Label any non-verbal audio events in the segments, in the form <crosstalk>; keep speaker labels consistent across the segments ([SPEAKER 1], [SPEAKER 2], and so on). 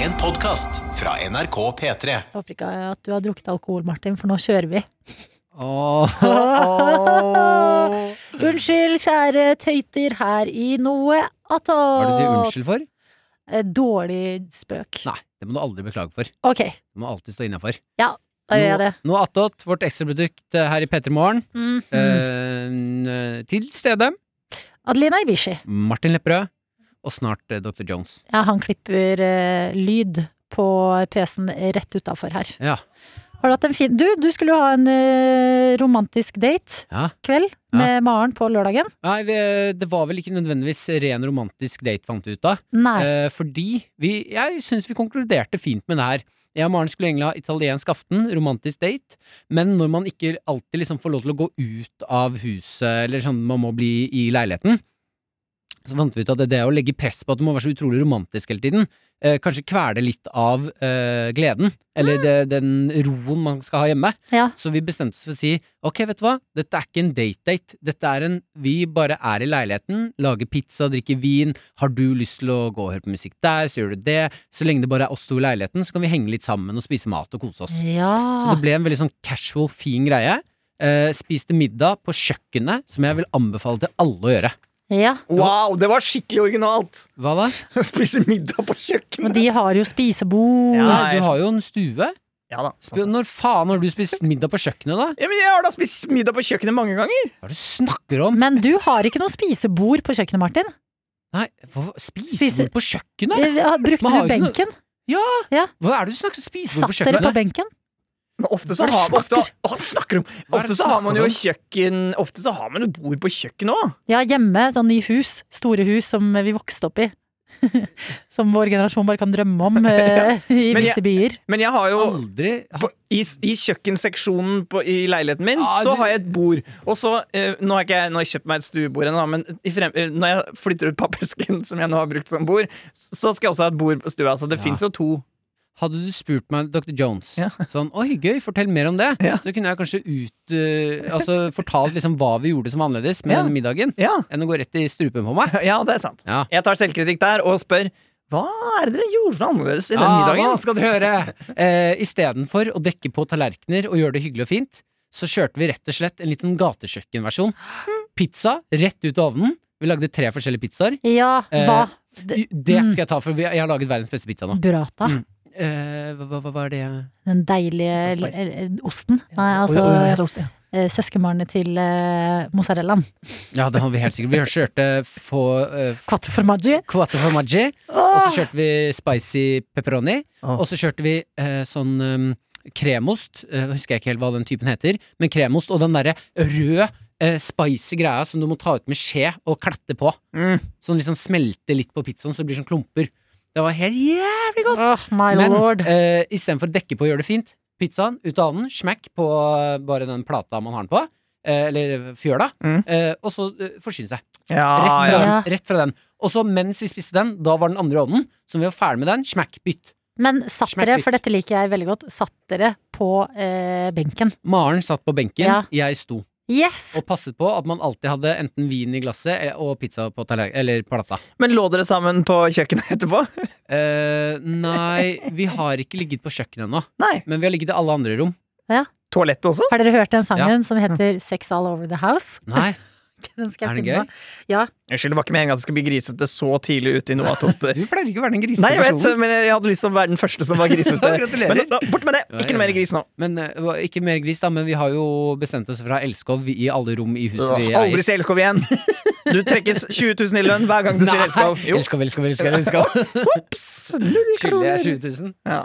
[SPEAKER 1] En podcast fra NRK P3.
[SPEAKER 2] Jeg håper ikke at du har drukket alkohol, Martin, for nå kjører vi.
[SPEAKER 3] Åh, <laughs> åh.
[SPEAKER 2] Unnskyld, kjære tøyter her i noe attåt.
[SPEAKER 3] Hva er det du sier unnskyld for?
[SPEAKER 2] Eh, Dårlig spøk.
[SPEAKER 3] Nei, det må du aldri beklage for.
[SPEAKER 2] Ok,
[SPEAKER 3] Du må alltid stå innafor.
[SPEAKER 2] da gjør jeg det.
[SPEAKER 3] Nå attåt, vårt ekstraprodukt eh, her i P3 Morgen.
[SPEAKER 2] <laughs> Mm.
[SPEAKER 3] Eh, til stede
[SPEAKER 2] Adelina Ibishi.
[SPEAKER 3] Martin Lepperød, og snart eh, Dr. Jones.
[SPEAKER 2] Ja, han klipper eh, lyd på PC-en rett utafor her.
[SPEAKER 3] Ja.
[SPEAKER 2] Har du hatt en fin Du, du skulle jo ha en eh, romantisk date
[SPEAKER 3] ja.
[SPEAKER 2] kveld
[SPEAKER 3] Ja.
[SPEAKER 2] med Maren på lørdagen.
[SPEAKER 3] Nei, vi, eh, det var vel ikke nødvendigvis ren romantisk date, fant vi ut av.
[SPEAKER 2] Nei.
[SPEAKER 3] Eh, fordi vi Jeg syns vi konkluderte fint med det her. Jeg og Maren skulle egentlig ha italiensk aften, romantisk date, men når man ikke alltid liksom får lov til å gå ut av huset, eller sånn man må bli i leiligheten, så fant vi ut at det, det å legge press på at du må være så utrolig romantisk hele tiden, eh, kanskje kvele litt av eh, gleden, eller det, den roen man skal ha hjemme.
[SPEAKER 2] Ja.
[SPEAKER 3] Så vi bestemte oss for å si ok, vet du hva, dette er ikke en date-date. Dette er en vi bare er i leiligheten, lager pizza, drikker vin. Har du lyst til å gå og høre på musikk der, så gjør du det. Så lenge det bare er oss to i leiligheten, så kan vi henge litt sammen og spise mat og kose oss.
[SPEAKER 2] ja.
[SPEAKER 3] Så det ble en veldig sånn casual, fin greie. Eh, spiste middag på kjøkkenet, som jeg vil anbefale til alle å gjøre.
[SPEAKER 2] ja.
[SPEAKER 4] Wow, det var skikkelig originalt! <laughs>
[SPEAKER 3] Hva da?
[SPEAKER 4] Å spise middag på
[SPEAKER 2] Men
[SPEAKER 4] kjøkkenet.
[SPEAKER 2] de har jo spisebord.
[SPEAKER 4] Ja.
[SPEAKER 3] Nei, du har jo en stue.
[SPEAKER 4] Ja da.
[SPEAKER 3] Sp- Når faen har du spist middag på kjøkkenet, da?
[SPEAKER 4] Ja, men jeg har da spist middag på kjøkkenet mange ganger.
[SPEAKER 3] Hva er det du snakker om?
[SPEAKER 2] Men du har ikke noe spisebord på kjøkkenet, Martin.
[SPEAKER 3] Nei, hva- spisebord
[SPEAKER 2] Spise-
[SPEAKER 3] på kjøkkenet?
[SPEAKER 2] Eh, Brukte
[SPEAKER 3] Man har
[SPEAKER 2] du
[SPEAKER 3] jo ikke noe-
[SPEAKER 2] benken?
[SPEAKER 3] Hva er det du snakker om? Spisebord på
[SPEAKER 2] Satt dere på
[SPEAKER 3] kjøkkenet?
[SPEAKER 2] benken?
[SPEAKER 4] Men ofte så
[SPEAKER 2] Hva
[SPEAKER 4] har
[SPEAKER 2] er det
[SPEAKER 4] ofte, å, snakker om,
[SPEAKER 3] Hva er det
[SPEAKER 4] ofte
[SPEAKER 3] du
[SPEAKER 4] så har man jo
[SPEAKER 3] snakker
[SPEAKER 4] kjøkken Ofte så har man jo bord på kjøkkenet òg.
[SPEAKER 2] Ja, hjemme, sånn i hus. Store hus som vi vokste opp i. <laughs> som vår generasjon bare kan drømme
[SPEAKER 3] <laughs>
[SPEAKER 2] om eh, i
[SPEAKER 4] Men
[SPEAKER 2] visse byer.
[SPEAKER 4] Men jeg har jo
[SPEAKER 3] Aldri
[SPEAKER 4] på, i, I kjøkkenseksjonen på, i leiligheten min
[SPEAKER 3] Ah,
[SPEAKER 4] så
[SPEAKER 3] du-
[SPEAKER 4] har jeg et bord. Og så eh, Nå har ikke jeg, nå har jeg kjøpt meg et stuebord ennå, men i frem, eh, når jeg flytter ut pappesken <laughs> som jeg nå har brukt som bord, så skal jeg også ha et bord på stua. Så det
[SPEAKER 3] Ja.
[SPEAKER 4] finnes fins jo to.
[SPEAKER 3] Hadde du spurt meg, Dr. Jones,
[SPEAKER 4] Ja.
[SPEAKER 3] sånn 'Oi, gøy, fortell mer om det',
[SPEAKER 4] Ja.
[SPEAKER 3] så kunne jeg kanskje ut eh, Altså fortalt liksom hva vi gjorde som var annerledes med
[SPEAKER 4] Ja.
[SPEAKER 3] denne middagen,
[SPEAKER 4] Ja,
[SPEAKER 3] enn å gå rett i strupen på meg.
[SPEAKER 4] ja det er sant.
[SPEAKER 3] Ja.
[SPEAKER 4] Jeg tar selvkritikk der og spør hva er det dere gjorde for annerledes <laughs> i den
[SPEAKER 3] Ah,
[SPEAKER 4] middagen?
[SPEAKER 3] Hva skal dere gjøre? Eh, Istedenfor å dekke på tallerkener og gjøre det hyggelig og fint, så kjørte vi rett og slett en liten gatekjøkkenversjon. Pizza rett ut av ovnen. Vi lagde tre forskjellige pizzaer.
[SPEAKER 2] Ja,
[SPEAKER 3] Eh,
[SPEAKER 2] hva?
[SPEAKER 3] I- Det
[SPEAKER 4] Mm.
[SPEAKER 3] skal jeg ta, for vi- jeg har laget verdens beste pizza nå.
[SPEAKER 2] Burrata.
[SPEAKER 3] Mm. Eh, hva, hva, hva er det jeg
[SPEAKER 2] Den deilige
[SPEAKER 4] Så spicy.
[SPEAKER 2] l- l- osten. Nei, altså
[SPEAKER 4] Oi, oi, oi, jeg tok sted.
[SPEAKER 2] eh, søskenbarnet til eh, mozzarellaen.
[SPEAKER 3] Ja, det har vi helt sikkert. Vi kjørte få eh,
[SPEAKER 2] Quattro formaggi.
[SPEAKER 3] Quattro formaggi, og så kjørte vi spicy pepperoni.
[SPEAKER 4] Åh.
[SPEAKER 3] Og så kjørte vi eh, sånn eh, kremost, eh, husker jeg ikke helt hva den typen heter, men kremost og den derre røde eh, spicy greia som du må ta ut med skje og klette på.
[SPEAKER 4] Mm.
[SPEAKER 3] Som liksom smelter litt på pizzaen, så det blir sånn klumper. Det var helt jævlig godt!
[SPEAKER 2] Åh, my
[SPEAKER 3] Men
[SPEAKER 2] lord.
[SPEAKER 3] eh, istedenfor å dekke på og gjøre det fint, pizzaen ut av ovnen, smekk på eh, bare den plata man har den på, eh, eller fjøla,
[SPEAKER 4] Mm.
[SPEAKER 3] eh, og så eh, forsyne seg.
[SPEAKER 4] Ja,
[SPEAKER 3] Rett fra,
[SPEAKER 4] Ah, ja.
[SPEAKER 2] Ja.
[SPEAKER 3] den, rett fra den. Og så mens vi spiste den, da var den andre i ovnen. Så når vi var ferdig med den, smakk, bytt.
[SPEAKER 2] Men satt
[SPEAKER 3] smakk
[SPEAKER 2] dere,
[SPEAKER 3] litt.
[SPEAKER 2] for dette liker jeg veldig godt, satt dere på eh, benken.
[SPEAKER 3] Maren satt på benken,
[SPEAKER 2] Ja.
[SPEAKER 3] jeg sto.
[SPEAKER 2] Yes!
[SPEAKER 3] Og passet på at man alltid hadde enten vin i glasset eh, og pizza på tallerkenen. Eller plata.
[SPEAKER 4] Men lå dere sammen på kjøkkenet etterpå? <laughs>
[SPEAKER 3] Eh, nei, vi har ikke ligget på kjøkkenet ennå.
[SPEAKER 4] Nei.
[SPEAKER 3] Men vi har ligget i alle andre rom.
[SPEAKER 4] Toalettet også?
[SPEAKER 2] Har dere hørt den
[SPEAKER 3] Ja.
[SPEAKER 2] sangen som heter Sex All Over The House? <laughs>
[SPEAKER 3] Nei,
[SPEAKER 2] Den skal jeg
[SPEAKER 3] Er den
[SPEAKER 2] finne
[SPEAKER 3] gøy?
[SPEAKER 2] nå. Ja.
[SPEAKER 4] Unnskyld, det var ikke meningen at det skulle bli grisete så tidlig ute i noe. at- <laughs>
[SPEAKER 3] Du pleier ikke å være den grisete
[SPEAKER 4] Nei, jeg vet, eh,
[SPEAKER 3] personen.
[SPEAKER 4] men jeg hadde lyst til å være den første som var <laughs> grisete.
[SPEAKER 3] Gratulerer.
[SPEAKER 4] Men da, bort med det!
[SPEAKER 3] Ja,
[SPEAKER 4] Ikke
[SPEAKER 3] ja,
[SPEAKER 4] noe mer
[SPEAKER 3] ja.
[SPEAKER 4] gris nå.
[SPEAKER 3] Men eh, hva- ikke mer gris, da. Men vi har jo bestemt oss for å ha elskov i alle rom i huset vi eier.
[SPEAKER 4] Aldri se Elskov igjen! Du <laughs> trekkes 20 000 i lønn hver gang du sier Elskov. Jo,
[SPEAKER 3] Elskov, elskov, elskov. elskov.
[SPEAKER 4] <laughs> ops! Null
[SPEAKER 3] Skylder jeg
[SPEAKER 4] kroner.
[SPEAKER 3] 20 000?
[SPEAKER 4] Ja.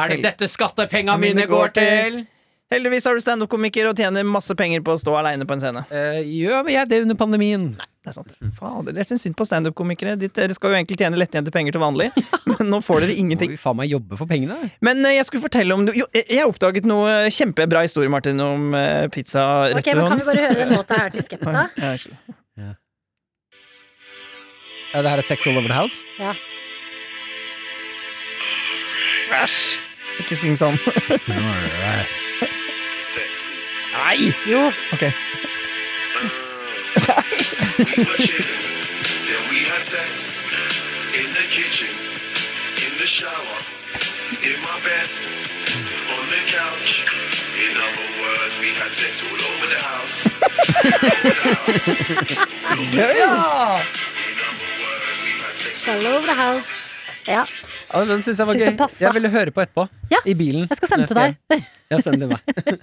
[SPEAKER 3] Er det dette skattepenga
[SPEAKER 4] mine
[SPEAKER 3] mine går
[SPEAKER 4] går
[SPEAKER 3] til?
[SPEAKER 4] Heldigvis er du standup-komiker og tjener masse penger på å stå aleine på en scene.
[SPEAKER 3] Eh, gjør jeg det under pandemien?
[SPEAKER 4] Det er sant. Fader, jeg syns synd på standup-komikere. De- Dere skal jo egentlig tjene lettjente penger til vanlig, men nå får dere
[SPEAKER 3] Må
[SPEAKER 4] ingenting.
[SPEAKER 3] vi faen meg jobbe for pengene?
[SPEAKER 4] Men eh, jeg skulle fortelle om noe- Jo, jeg- jeg oppdaget noe kjempebra historie, Martin, om eh, pizza rett
[SPEAKER 2] Ok, men kan
[SPEAKER 4] ved hånden.
[SPEAKER 2] vi bare høre den låta her til Skepta?
[SPEAKER 4] Ja, unnskyld.
[SPEAKER 3] Ja, det her er Sex All Over The House.
[SPEAKER 2] Ja.
[SPEAKER 4] Æsj! Ikke syng sånn.
[SPEAKER 5] Sexy.
[SPEAKER 4] Nei! Jo! Ok.
[SPEAKER 5] then we had sex in the kitchen, in the shower, in my bed, on the couch. In other words, we had sex all over the house. In other words, we had sex all
[SPEAKER 2] Hello, the house. Ja.
[SPEAKER 3] Ja, den syns jeg var
[SPEAKER 2] Synes det
[SPEAKER 3] gøy.
[SPEAKER 2] passet.
[SPEAKER 3] Jeg ville høre på etterpå.
[SPEAKER 2] Ja,
[SPEAKER 3] I bilen.
[SPEAKER 2] Jeg skal sende
[SPEAKER 3] når
[SPEAKER 2] til deg.
[SPEAKER 3] hjem. Ja, send det meg.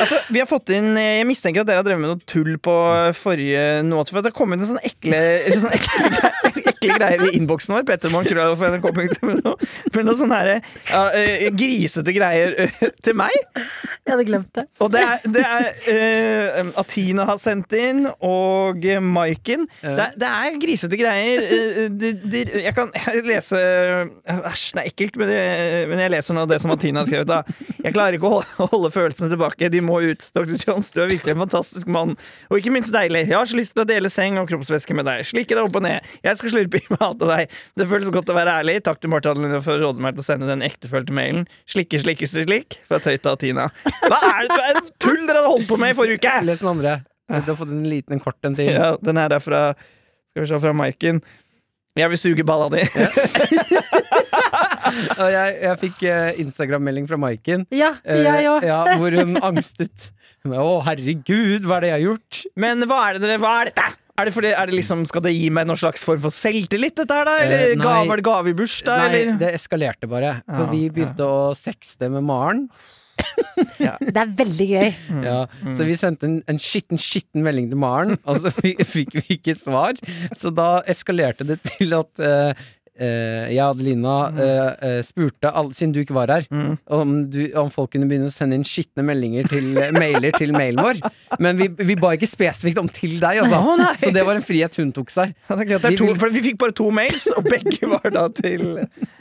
[SPEAKER 4] Altså, vi har fått inn Jeg mistenker at dere har drevet med noe tull på forrige noe, for det har kommet inn sånne ekle, <laughs> sånne ekle, gre- <laughs> ekle greier i innboksen vår. Pettermoen.nrk.no. Men noe sånn her ja, eh, grisete greier eh, til meg.
[SPEAKER 2] <laughs> Jeg hadde glemt det.
[SPEAKER 4] Og det er, det er eh, Atina har sendt inn, og eh, Maiken. Det, er- det er grisete greier. Eh, de, de, jeg kan lese Æsj, det er ekkelt, men, det, men jeg leser nå det som Atina har skrevet. Da. Jeg klarer ikke å holde, holde følelsene tilbake. De må ut. Dr. Johns, du er virkelig en fantastisk mann. Og ikke minst deilig. Jeg har så lyst til å dele seng og kroppsvæske med deg. Slikke deg opp og ned. Jeg skal slurpe i meg alt av deg. Det føles godt å være ærlig. Takk til Martha Adeline for å råde meg til å sende den ektefølte mailen. Slikke, slikkeste slikk fra Tøyta og Tina. Hva er det for tull dere hadde holdt på med i forrige uke?!
[SPEAKER 3] Les den andre. Du har fått en liten en kort en til.
[SPEAKER 4] Ja, den her er fra Skal vi se, fra Maiken. Jeg vil suge balla di.
[SPEAKER 3] Og jeg, jeg fikk eh, Instagram-melding fra Maiken.
[SPEAKER 2] Ja,
[SPEAKER 3] eh,
[SPEAKER 2] jeg òg.
[SPEAKER 3] ja, hvor hun angstet. Hun er, Å, herregud, hva er det jeg har gjort?
[SPEAKER 4] Men hva er det dere Hva er dette? Er det fordi, er det liksom, skal det gi meg noen slags form for selvtillit, dette her, da? Eller
[SPEAKER 3] Eh, nei.
[SPEAKER 4] gave, var det gave i bursdag,
[SPEAKER 3] Nei,
[SPEAKER 4] eller?
[SPEAKER 3] det eskalerte bare. For
[SPEAKER 4] Ja,
[SPEAKER 3] vi begynte å sexte med Maren.
[SPEAKER 2] <laughs> Det er veldig gøy.
[SPEAKER 4] Mm.
[SPEAKER 3] Ja, så vi sendte en, en skitten, skitten melding til Maren, og så <laughs> fikk, fikk vi ikke svar. Så da eskalerte det til at eh, eh, jeg og Adelina
[SPEAKER 4] Mm.
[SPEAKER 3] eh, eh, spurte, alle, siden du ikke var her, om, du, om folk kunne begynne å sende inn skitne meldinger til, eh, mailer til mailen vår. Men vi, vi ba ikke spesifikt om til deg, altså.
[SPEAKER 4] Å, nei.
[SPEAKER 3] så det var en frihet hun tok seg.
[SPEAKER 4] Jeg tenker at det
[SPEAKER 3] Vi
[SPEAKER 4] er to,
[SPEAKER 3] vil-
[SPEAKER 4] for vi fikk bare to mails, og <laughs> begge var da til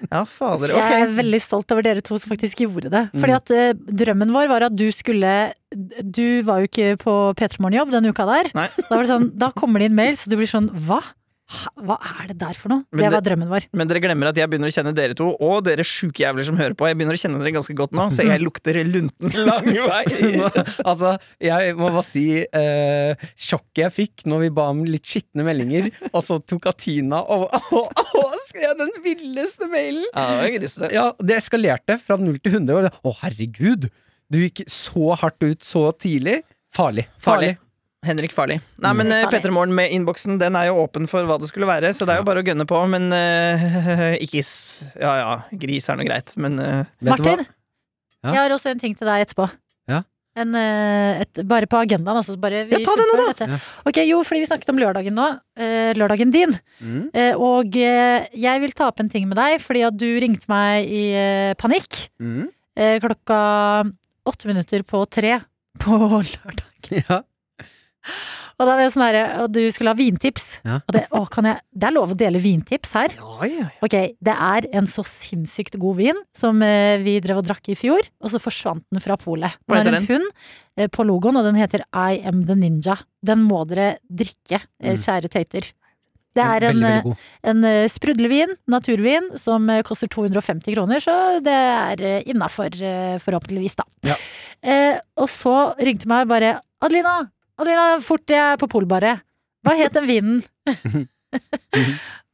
[SPEAKER 4] Ja, fader. Ok.
[SPEAKER 2] Jeg er veldig stolt over dere to som faktisk gjorde det. Fordi at eh, drømmen vår var at du skulle Du var jo ikke på P3 Morgen-jobb den uka der.
[SPEAKER 4] Nei.
[SPEAKER 2] Da, var det sånn, da kommer det inn mail, så du blir sånn Hva? Hæ? Hva er det der for noe?
[SPEAKER 4] Men
[SPEAKER 2] Det
[SPEAKER 4] det-
[SPEAKER 2] var drømmen vår.
[SPEAKER 4] Men dere glemmer at jeg begynner å kjenne dere to, og dere sjuke jævler som hører på. Jeg begynner å kjenne dere ganske godt nå, så jeg lukter lunten <laughs> lang
[SPEAKER 3] <laughs>
[SPEAKER 4] vei.
[SPEAKER 3] altså, jeg må bare si eh, sjokket jeg fikk når vi ba om litt skitne meldinger, og så tok Atina og, <laughs> og, og skrev den villeste mailen!
[SPEAKER 4] Ja, det var grisete.
[SPEAKER 3] Ja, det eskalerte fra 0 til 100. og det- Å, herregud! Du gikk så hardt ut så tidlig. Farlig. Farlig.
[SPEAKER 4] Farlig. Henrik Farli. Nei, men uh,
[SPEAKER 2] Farli.
[SPEAKER 4] P3 Morgen med innboksen den er jo åpen for hva det skulle være, så det er jo bare å gønne på. Men eh, <laughs> ikke s Ja ja, gris er nå greit, men eh,
[SPEAKER 3] Vet du hva?
[SPEAKER 2] Martin,
[SPEAKER 3] Ja?
[SPEAKER 2] jeg har også en ting til deg etterpå.
[SPEAKER 3] Ja.
[SPEAKER 2] En, eh, et, bare på agendaen, altså. så Bare vi
[SPEAKER 4] Ja, ta det nå,
[SPEAKER 2] fullfører dette.
[SPEAKER 3] Ja.
[SPEAKER 2] Ok, jo, fordi vi snakket om lørdagen nå. eh, lørdagen din.
[SPEAKER 3] Mm.
[SPEAKER 2] Eh, og eh, jeg vil ta opp en ting med deg, fordi at du ringte meg i eh, panikk
[SPEAKER 3] Mm.
[SPEAKER 2] eh, klokka åtte minutter på tre på <laughs> lørdag.
[SPEAKER 3] <laughs> Ja.
[SPEAKER 2] Og da var jeg sånn her, og du skulle ha vintips.
[SPEAKER 3] Ja.
[SPEAKER 2] Og det, å, kan jeg, det er lov å dele vintips her.
[SPEAKER 4] ja, ja, ja.
[SPEAKER 2] Ok, det er en så sinnssykt god vin som eh, vi drev og drakk i fjor, og så forsvant den fra polet.
[SPEAKER 4] Hva heter
[SPEAKER 2] er en hund eh, på logoen, og den heter I am the ninja. Den må dere drikke, eh,
[SPEAKER 3] Mm.
[SPEAKER 2] kjære tøyter. Det er
[SPEAKER 3] veldig,
[SPEAKER 2] en,
[SPEAKER 3] veldig god.
[SPEAKER 2] eh, en eh, sprudlevin, naturvin, som eh, koster 250 kroner, så det er eh, innafor, forhåpentligvis, da.
[SPEAKER 3] Ja.
[SPEAKER 2] Eh, og så ringte meg bare Adelina, Adelina, fort jeg er på polbaret. Hva het den
[SPEAKER 3] <laughs>
[SPEAKER 2] vinen?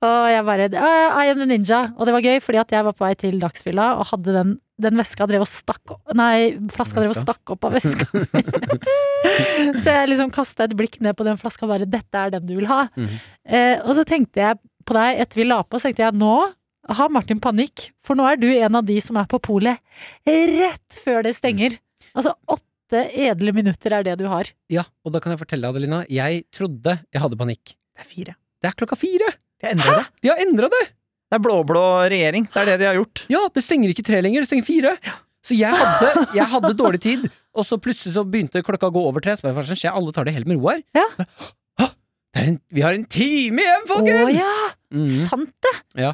[SPEAKER 2] og jeg bare «Ah, I am the ninja. Og det var gøy, fordi at jeg var på vei til Dagsfylla og hadde den, den veska drev og stakk opp Nei, flaska drev og
[SPEAKER 3] Veska?
[SPEAKER 2] stakk opp av
[SPEAKER 3] <laughs>
[SPEAKER 2] veska. så jeg liksom kasta et blikk ned på den flaska og bare Dette er den du vil ha.
[SPEAKER 3] Mhm.
[SPEAKER 2] eh, og så tenkte jeg på deg etter vi la på, så tenkte jeg nå har Martin panikk, for nå er du en av de som er på polet rett før det stenger. Altså åtte edle minutter er det du har.
[SPEAKER 3] ja, og da kan jeg fortelle, Adelina, jeg trodde jeg hadde panikk.
[SPEAKER 4] Det er fire.
[SPEAKER 3] Det er klokka fire!
[SPEAKER 4] Det er endret det.
[SPEAKER 3] De har endra det!
[SPEAKER 4] Det er blå-blå regjering. Det er det de har gjort.
[SPEAKER 3] Ja, det stenger ikke tre lenger, det stenger fire! Så jeg hadde, jeg hadde dårlig tid, og så plutselig så begynte klokka å gå over tre. Så bare, hva er det som skjer? Alle tar det helt med ro her.
[SPEAKER 2] Ja.
[SPEAKER 3] Hå, det er en, vi har en time igjen, folkens!
[SPEAKER 2] Å ja!
[SPEAKER 3] Mhm.
[SPEAKER 2] Sant det!
[SPEAKER 3] Ja.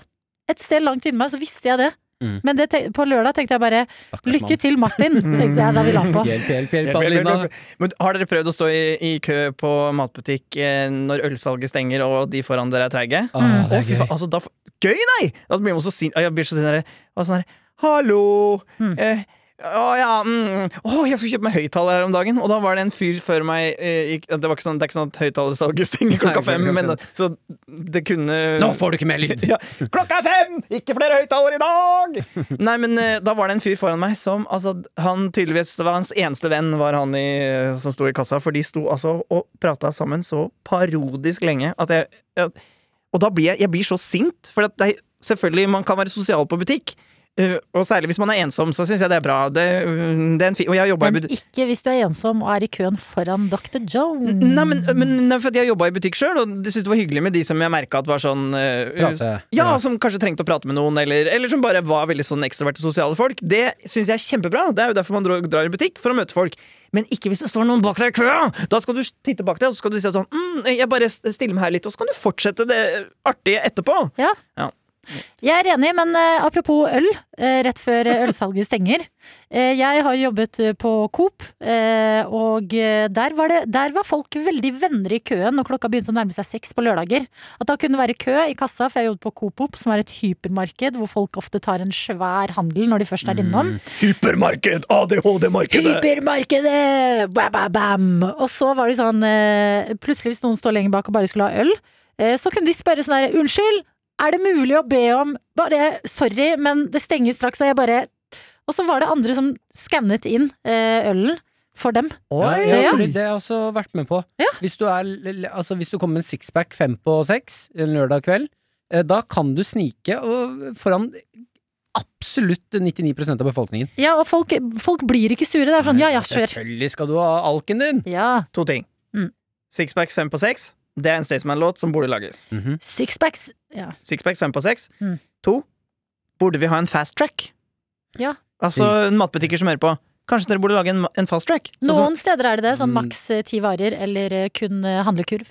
[SPEAKER 2] Et sted langt inni meg så visste jeg det.
[SPEAKER 3] Mm.
[SPEAKER 2] Men det tenk, på lørdag tenkte jeg bare
[SPEAKER 3] Stakkars
[SPEAKER 2] lykke til, Martin,
[SPEAKER 3] <laughs>
[SPEAKER 2] tenkte jeg da vi la på.
[SPEAKER 3] mann. Hjelp, hjelp, hjelp,
[SPEAKER 4] Hjelp, hjelp,
[SPEAKER 3] Adelina.
[SPEAKER 4] hjelp, hjelp. Men har dere prøvd å stå i, i kø på matbutikk eh, når ølsalget stenger og de foran dere er treige?
[SPEAKER 3] Å, Ah,
[SPEAKER 2] Mm.
[SPEAKER 3] det
[SPEAKER 4] Å,
[SPEAKER 3] er
[SPEAKER 4] fy
[SPEAKER 3] gøy.
[SPEAKER 4] faen, altså,
[SPEAKER 3] Hmm.
[SPEAKER 4] da, f- gøy, nei! Da blir man så sin, jeg blir så sint. Jeg blir sånn der, og sånn der Hallo!
[SPEAKER 2] Mm.
[SPEAKER 4] Eh, Å ja, mm. Å, jeg skulle kjøpe meg høyttaler her om dagen, og da var det en fyr før meg eh, gikk- Det var ikke sånn, det er ikke sånn at
[SPEAKER 3] <laughs>
[SPEAKER 4] høyttalersalget stenger klokka
[SPEAKER 3] klokka
[SPEAKER 4] fem,
[SPEAKER 3] fem.
[SPEAKER 4] men, så det kunne
[SPEAKER 3] Nå får du ikke mer lyd!
[SPEAKER 4] <laughs> ja. Klokka er fem! Ikke flere høyttalere i dag! <laughs> Nei, men eh, da var det en fyr foran meg som altså, Han tydeligvis det var hans eneste venn, var han i, eh, som sto i kassa. For de sto altså og prata sammen så parodisk lenge at jeg, jeg Og da blir jeg, jeg blir så sint, for at det, er- selvfølgelig, man kan være sosial på butikk. eh, og særlig hvis man er ensom, så syns jeg det er bra. Det, mm, det er en fin, og jeg har jobba i
[SPEAKER 2] Men
[SPEAKER 4] butikk
[SPEAKER 2] ikke hvis du er ensom og er i køen foran Dr. Jones.
[SPEAKER 4] Nei, men, men nei, for at jeg jobba i butikk sjøl, og det syntes det var hyggelig med de som jeg merka at var sånn eh,
[SPEAKER 3] Prate.
[SPEAKER 4] Ja,
[SPEAKER 3] Ja.
[SPEAKER 4] som kanskje trengte å prate med noen, eller, eller som bare var veldig sånn ekstroverte sosiale folk. Det syns jeg er kjempebra. Det er jo derfor man drar, drar i butikk, for å møte folk. Men ikke hvis det står noen bak deg i køa! Da skal du titte bak deg, og så skal du si sånn mm, 'Jeg bare stiller meg her litt', og så kan du fortsette det artige etterpå.
[SPEAKER 2] Ja.
[SPEAKER 4] Ja.
[SPEAKER 2] Jeg er enig, men eh, apropos øl, eh, rett før eh, ølsalget stenger. Eh, jeg har jobbet eh, på Coop, eh, og eh, der var, det, der var folk veldig venner i køen når klokka begynte å nærme seg seks på lørdager. At da kunne det være kø i kassa, for jeg jobbet på Coop Op, som er et hypermarked hvor folk ofte tar en svær handel når de først er innom.
[SPEAKER 4] Hypermarked! ADHD-markedet!
[SPEAKER 2] Hypermarkedet! Bam, bam, bam. Og så var det sånn eh, Plutselig, hvis noen står lenger bak og bare skulle ha øl, eh, så kunne de spørre sånn her Unnskyld, er det mulig å be om Bare sorry, men det stenger straks, og jeg bare Og så var det andre som skannet inn eh, ølen for dem.
[SPEAKER 3] Ja,
[SPEAKER 4] Oi!
[SPEAKER 3] ja,
[SPEAKER 2] Ja.
[SPEAKER 3] fordi det har jeg også vært med på.
[SPEAKER 2] Ja.
[SPEAKER 3] Hvis, du er, l- l- altså, hvis du kommer med en sixpack fem på seks en lørdag kveld, eh, da kan du snike og foran absolutt 99 av befolkningen.
[SPEAKER 2] Ja, og folk, folk blir ikke sure. Det er sånn ja, ja, kjør.
[SPEAKER 3] Selvfølgelig skal du ha alken din!
[SPEAKER 2] Ja.
[SPEAKER 4] To ting.
[SPEAKER 2] Mm.
[SPEAKER 4] Sixpacks fem på seks. Det er en Staysman-låt som burde lages.
[SPEAKER 2] Sixpacks. Ja.
[SPEAKER 4] Sixpacks fem på seks.
[SPEAKER 2] Mm.
[SPEAKER 4] To. Burde vi ha en fast track?
[SPEAKER 2] Ja.
[SPEAKER 4] Altså
[SPEAKER 3] Six.
[SPEAKER 4] en matbutikker som hører på. Kanskje dere burde lage en, ma- en fast track? Sånn som-
[SPEAKER 2] Noen steder er det det. Sånn
[SPEAKER 3] Mm.
[SPEAKER 2] maks eh, ti varer, eller eh, kun eh, handlekurv.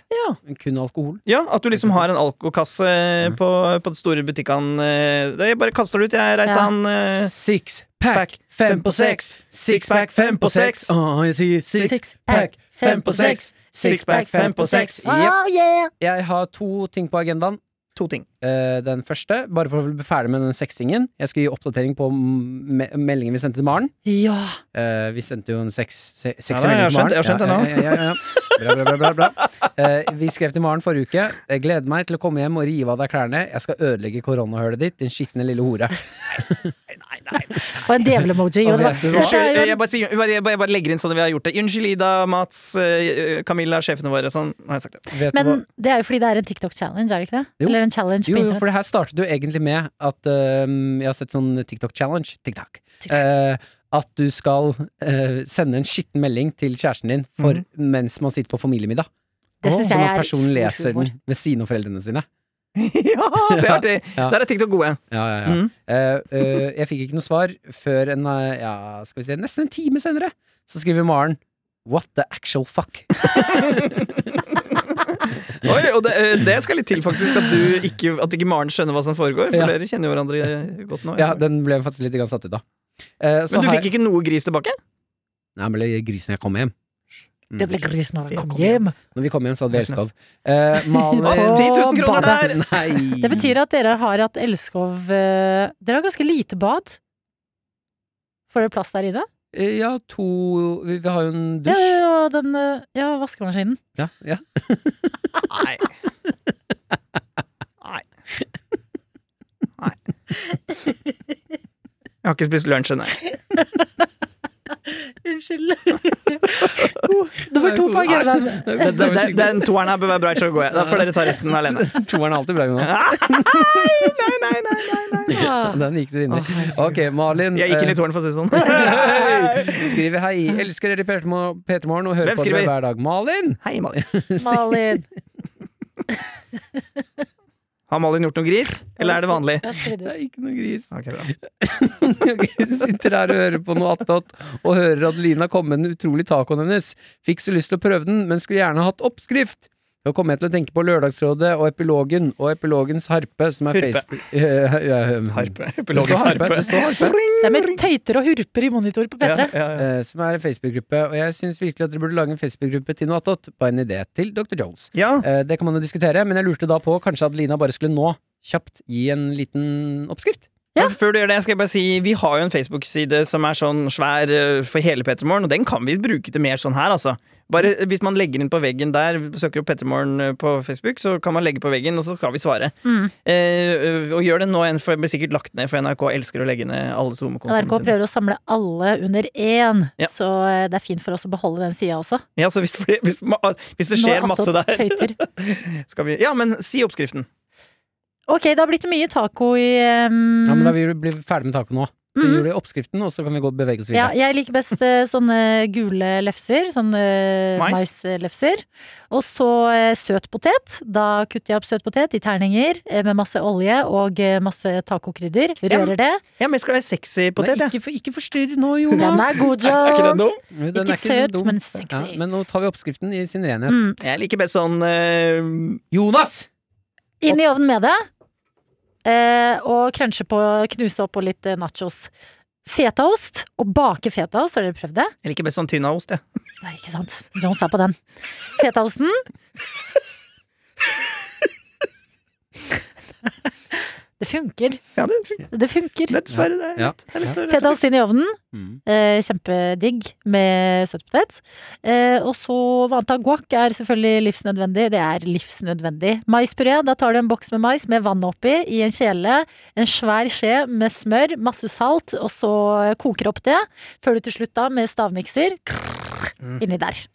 [SPEAKER 3] Kun alkohol.
[SPEAKER 4] sånn- ja, At du liksom har en alkokasse eh,
[SPEAKER 3] Mm.
[SPEAKER 4] på, på de store butikkene. eh, det- Jeg bare kaster det ut, jeg, Reitan. eh,
[SPEAKER 3] Six pack,
[SPEAKER 4] pack,
[SPEAKER 3] fem på seks. Six pack, fem på seks. Å, jeg sier six pack, fem på seks. Six pack, fem på seks. Jep.
[SPEAKER 2] Oh, yeah.
[SPEAKER 3] Jeg har to ting på agendaen.
[SPEAKER 4] To ting.
[SPEAKER 3] Eh, den første, bare for å bli ferdig med den sextingen. Jeg skal gi oppdatering på m- me meldingen vi sendte til Maren.
[SPEAKER 2] Ja.
[SPEAKER 3] Eh, vi sendte jo en sex, se, sex
[SPEAKER 4] Ja, da, jeg har
[SPEAKER 3] melding til Maren.
[SPEAKER 4] skjønt- jeg har skjønt det nå.
[SPEAKER 3] Ja, ja, ja, ja, ja. Bra, bra, bra, bra, bra. Eh, vi skrev til Maren forrige uke. Jeg gleder meg til å komme hjem og rive av deg klærne. Jeg skal ødelegge koronahølet ditt, din skitne lille hore.
[SPEAKER 2] Og en djevel-emoji.
[SPEAKER 3] Og
[SPEAKER 2] jo, det var-
[SPEAKER 3] vet du hva?
[SPEAKER 2] Dette
[SPEAKER 4] Unnskyld,
[SPEAKER 2] er
[SPEAKER 4] jeg
[SPEAKER 2] jo en-
[SPEAKER 4] bare, sier- jeg bare, jeg bare, jeg bare legger inn sånn vi har gjort det. Unnskyld, Ida, Mats, eh, Camilla, sjefene våre. Sånn har jeg sagt det. <laughs>
[SPEAKER 3] Vet du hva?
[SPEAKER 2] Men det er jo fordi det er en TikTok-challenge, er det ikke det?
[SPEAKER 3] Jo.
[SPEAKER 2] Eller en challenge på
[SPEAKER 3] Jo, jo,
[SPEAKER 2] internett.
[SPEAKER 3] for det her startet jo egentlig med at eh, jeg har sett sånn TikTok-challenge. TikTok. Eh, at du skal eh, sende en skitten melding til kjæresten din for,
[SPEAKER 4] Mhm.
[SPEAKER 3] mens man sitter på familiemiddag.
[SPEAKER 2] Det synes
[SPEAKER 3] sånn
[SPEAKER 2] jeg
[SPEAKER 3] at
[SPEAKER 2] er
[SPEAKER 3] personen
[SPEAKER 2] stor
[SPEAKER 3] leser
[SPEAKER 2] humor.
[SPEAKER 3] den ved siden av foreldrene sine.
[SPEAKER 4] ja, det er artig!
[SPEAKER 3] Ja.
[SPEAKER 4] Der er TikTok gode.
[SPEAKER 3] Ja, ja, ja.
[SPEAKER 4] Mm.
[SPEAKER 3] Eh, eh, jeg fikk ikke noe svar før en, eh, ja, skal vi se, nesten en time senere. Så skriver Maren What the actual
[SPEAKER 4] <laughs>
[SPEAKER 3] fuck?
[SPEAKER 4] Oi, og det, eh, det skal litt til, faktisk, at, du ikke, at ikke Maren skjønner hva som foregår. For
[SPEAKER 3] Ja.
[SPEAKER 4] dere kjenner jo hverandre eh, godt nå.
[SPEAKER 3] Ja,
[SPEAKER 4] jeg tror.
[SPEAKER 3] Den ble jeg faktisk litt grann satt ut av. Eh, så
[SPEAKER 4] Men du
[SPEAKER 3] har
[SPEAKER 4] fikk
[SPEAKER 3] jeg-
[SPEAKER 4] ikke noe gris tilbake?
[SPEAKER 3] Nei, men det ble gris når jeg kom hjem. Mm.
[SPEAKER 2] Det ble gris når han
[SPEAKER 4] Jeg
[SPEAKER 2] kom
[SPEAKER 4] kom
[SPEAKER 2] hjem.
[SPEAKER 3] Når vi kom hjem, så hadde vi
[SPEAKER 4] <laughs>
[SPEAKER 3] elskov. Eh, Malin
[SPEAKER 2] Åh,
[SPEAKER 4] 10 000 kroner
[SPEAKER 2] badet.
[SPEAKER 4] der!
[SPEAKER 3] Nei!
[SPEAKER 2] Det betyr at dere har hatt Elskov eh, Dere har ganske lite bad. Får dere plass der inne?
[SPEAKER 3] Eh, Ja, to Vi, vi har jo en
[SPEAKER 2] Ja,
[SPEAKER 3] dusj.
[SPEAKER 2] og den eh, Ja, vaskemaskinen.
[SPEAKER 3] Ja, ja.
[SPEAKER 4] Nei. Nei. Nei. Jeg har ikke spist lunsj ennå.
[SPEAKER 2] <laughs> Unnskyld. Nummer to på agendaen.
[SPEAKER 4] Den, den,
[SPEAKER 3] <laughs>
[SPEAKER 4] den toeren her bør være bra, så går jeg. Da får dere ta resten alene.
[SPEAKER 3] Toeren er alltid bra, Jonas.
[SPEAKER 4] Nei, nei, nei, nei, nei.
[SPEAKER 2] Ja.
[SPEAKER 3] Den gikk du inn i. Ok, Malin.
[SPEAKER 4] Jeg gikk inn
[SPEAKER 3] eh,
[SPEAKER 4] i toeren, for å si det sånn.
[SPEAKER 3] Skriver hei, elsker dere Petermorgen og hører
[SPEAKER 4] Hvem
[SPEAKER 3] på dere
[SPEAKER 4] skriver?
[SPEAKER 3] hver dag. Malin!
[SPEAKER 4] Hei, Malin.
[SPEAKER 2] Malin.
[SPEAKER 4] Har Malin gjort noe gris, <laughs> eller er det vanlig?
[SPEAKER 2] Jeg skriver det.
[SPEAKER 3] er ikke noe gris. <laughs>
[SPEAKER 4] Ok, bra.
[SPEAKER 3] Jeg sitter her og hører på noe attåt, og hører at Lina kom med den utrolige tacoen hennes. Fikk så lyst til å prøve den, men skulle gjerne hatt oppskrift. Da kom jeg til å tenke på Lørdagsrådet og Epilogen, og Epilogens harpe, som er
[SPEAKER 4] Hurpe.
[SPEAKER 3] Facebook... <laughs> Eh, eh, eh,
[SPEAKER 4] Harpe.
[SPEAKER 3] Det står
[SPEAKER 4] Epilogisk
[SPEAKER 3] harpe.
[SPEAKER 4] harpe.
[SPEAKER 3] Det står harpe.
[SPEAKER 2] Det er mer tøyter og hurper i monitor på
[SPEAKER 4] Ja,
[SPEAKER 2] P3.
[SPEAKER 4] ja, ja.
[SPEAKER 3] eh, Som er en Facebook-gruppe, og jeg syns virkelig at dere burde lage en Facebook-gruppe til noe attåt, på en idé til Dr. Jones.
[SPEAKER 4] Ja,
[SPEAKER 3] Eh, Det kan man jo diskutere, men jeg lurte da på kanskje at Lina bare skulle nå kjapt gi en liten oppskrift.
[SPEAKER 2] Ja.
[SPEAKER 4] Før du gjør det, skal jeg bare si vi har jo en Facebook-side som er sånn svær eh, for hele Petermorgen, og den kan vi bruke til mer sånn her, altså. Bare eh, Hvis man legger inn på veggen der, søker opp Petermorgen eh, på Facebook, så kan man legge på veggen, og så skal vi svare.
[SPEAKER 2] Mm.
[SPEAKER 4] Eh, og gjør det nå, en- for det blir sikkert lagt ned, for NRK elsker å legge ned alle
[SPEAKER 2] NRK
[SPEAKER 4] SoMe-kontoene sine.
[SPEAKER 2] prøver å samle alle under én,
[SPEAKER 4] Ja.
[SPEAKER 2] så eh, det er fint for oss å beholde den sida også.
[SPEAKER 4] Ja, så hvis, <laughs> fordi- hvis, ma- hvis det skjer
[SPEAKER 2] Nå er
[SPEAKER 4] masse
[SPEAKER 2] Attåt
[SPEAKER 4] der,
[SPEAKER 2] tøyter.
[SPEAKER 4] <laughs> skal vi Ja, men si oppskriften.
[SPEAKER 2] Ok, det har blitt mye taco i ehm,
[SPEAKER 3] Ja, men da blir vi ferdig med taco nå. Så
[SPEAKER 2] Mm.
[SPEAKER 3] gjør du oppskriften, og så kan vi gå og bevege oss
[SPEAKER 2] ja,
[SPEAKER 3] videre.
[SPEAKER 2] jeg liker best eh, sånne gule lefser. Sånne eh,
[SPEAKER 4] Mais.
[SPEAKER 2] maislefser. Og så eh, søt potet. Da kutter jeg opp søt potet i terninger eh, med masse olje og eh, masse tacokrydder.
[SPEAKER 4] Ja, men-
[SPEAKER 2] Rører det.
[SPEAKER 4] Jeg er mest glad i sexy potet,
[SPEAKER 3] Nei,
[SPEAKER 4] jeg.
[SPEAKER 3] ikke, for- ikke forstyrr nå,
[SPEAKER 2] Den
[SPEAKER 3] Jonas!
[SPEAKER 2] er god,
[SPEAKER 4] <laughs> Er, er ikke den
[SPEAKER 2] Jones.
[SPEAKER 4] dum?
[SPEAKER 3] Den
[SPEAKER 2] Ikke
[SPEAKER 3] er
[SPEAKER 2] søt,
[SPEAKER 3] dum.
[SPEAKER 2] men sexy.
[SPEAKER 3] Ja, men nå tar vi oppskriften i sin renhet.
[SPEAKER 2] Mm.
[SPEAKER 4] Jeg liker best sånn eh,
[SPEAKER 3] Jonas!
[SPEAKER 2] Inn i ovnen med det. Eh, og crunche på, knuse opp på litt eh, nachos. Fetaost. Å bake fetaost, har dere prøvd det?
[SPEAKER 4] Jeg liker best sånn tynnaost, jeg.
[SPEAKER 2] Nei, ikke sant. Jones er på den. Fetaosten. Det funker.
[SPEAKER 4] Ja, det
[SPEAKER 2] Det funker.
[SPEAKER 4] Dessverre. Det er
[SPEAKER 3] Ja.
[SPEAKER 4] litt, det er litt, litt,
[SPEAKER 2] Fetaost inn i ovnen.
[SPEAKER 3] Mm.
[SPEAKER 2] Eh, kjempedigg med søtpotet. Eh, og så vanta guac er selvfølgelig livsnødvendig. Det er livsnødvendig. Maispuré. Da tar du en boks med mais med vann oppi i en kjele. En svær skje med smør, masse salt, og så koker opp det. Før du til slutt da med stavmikser krrr, inni der.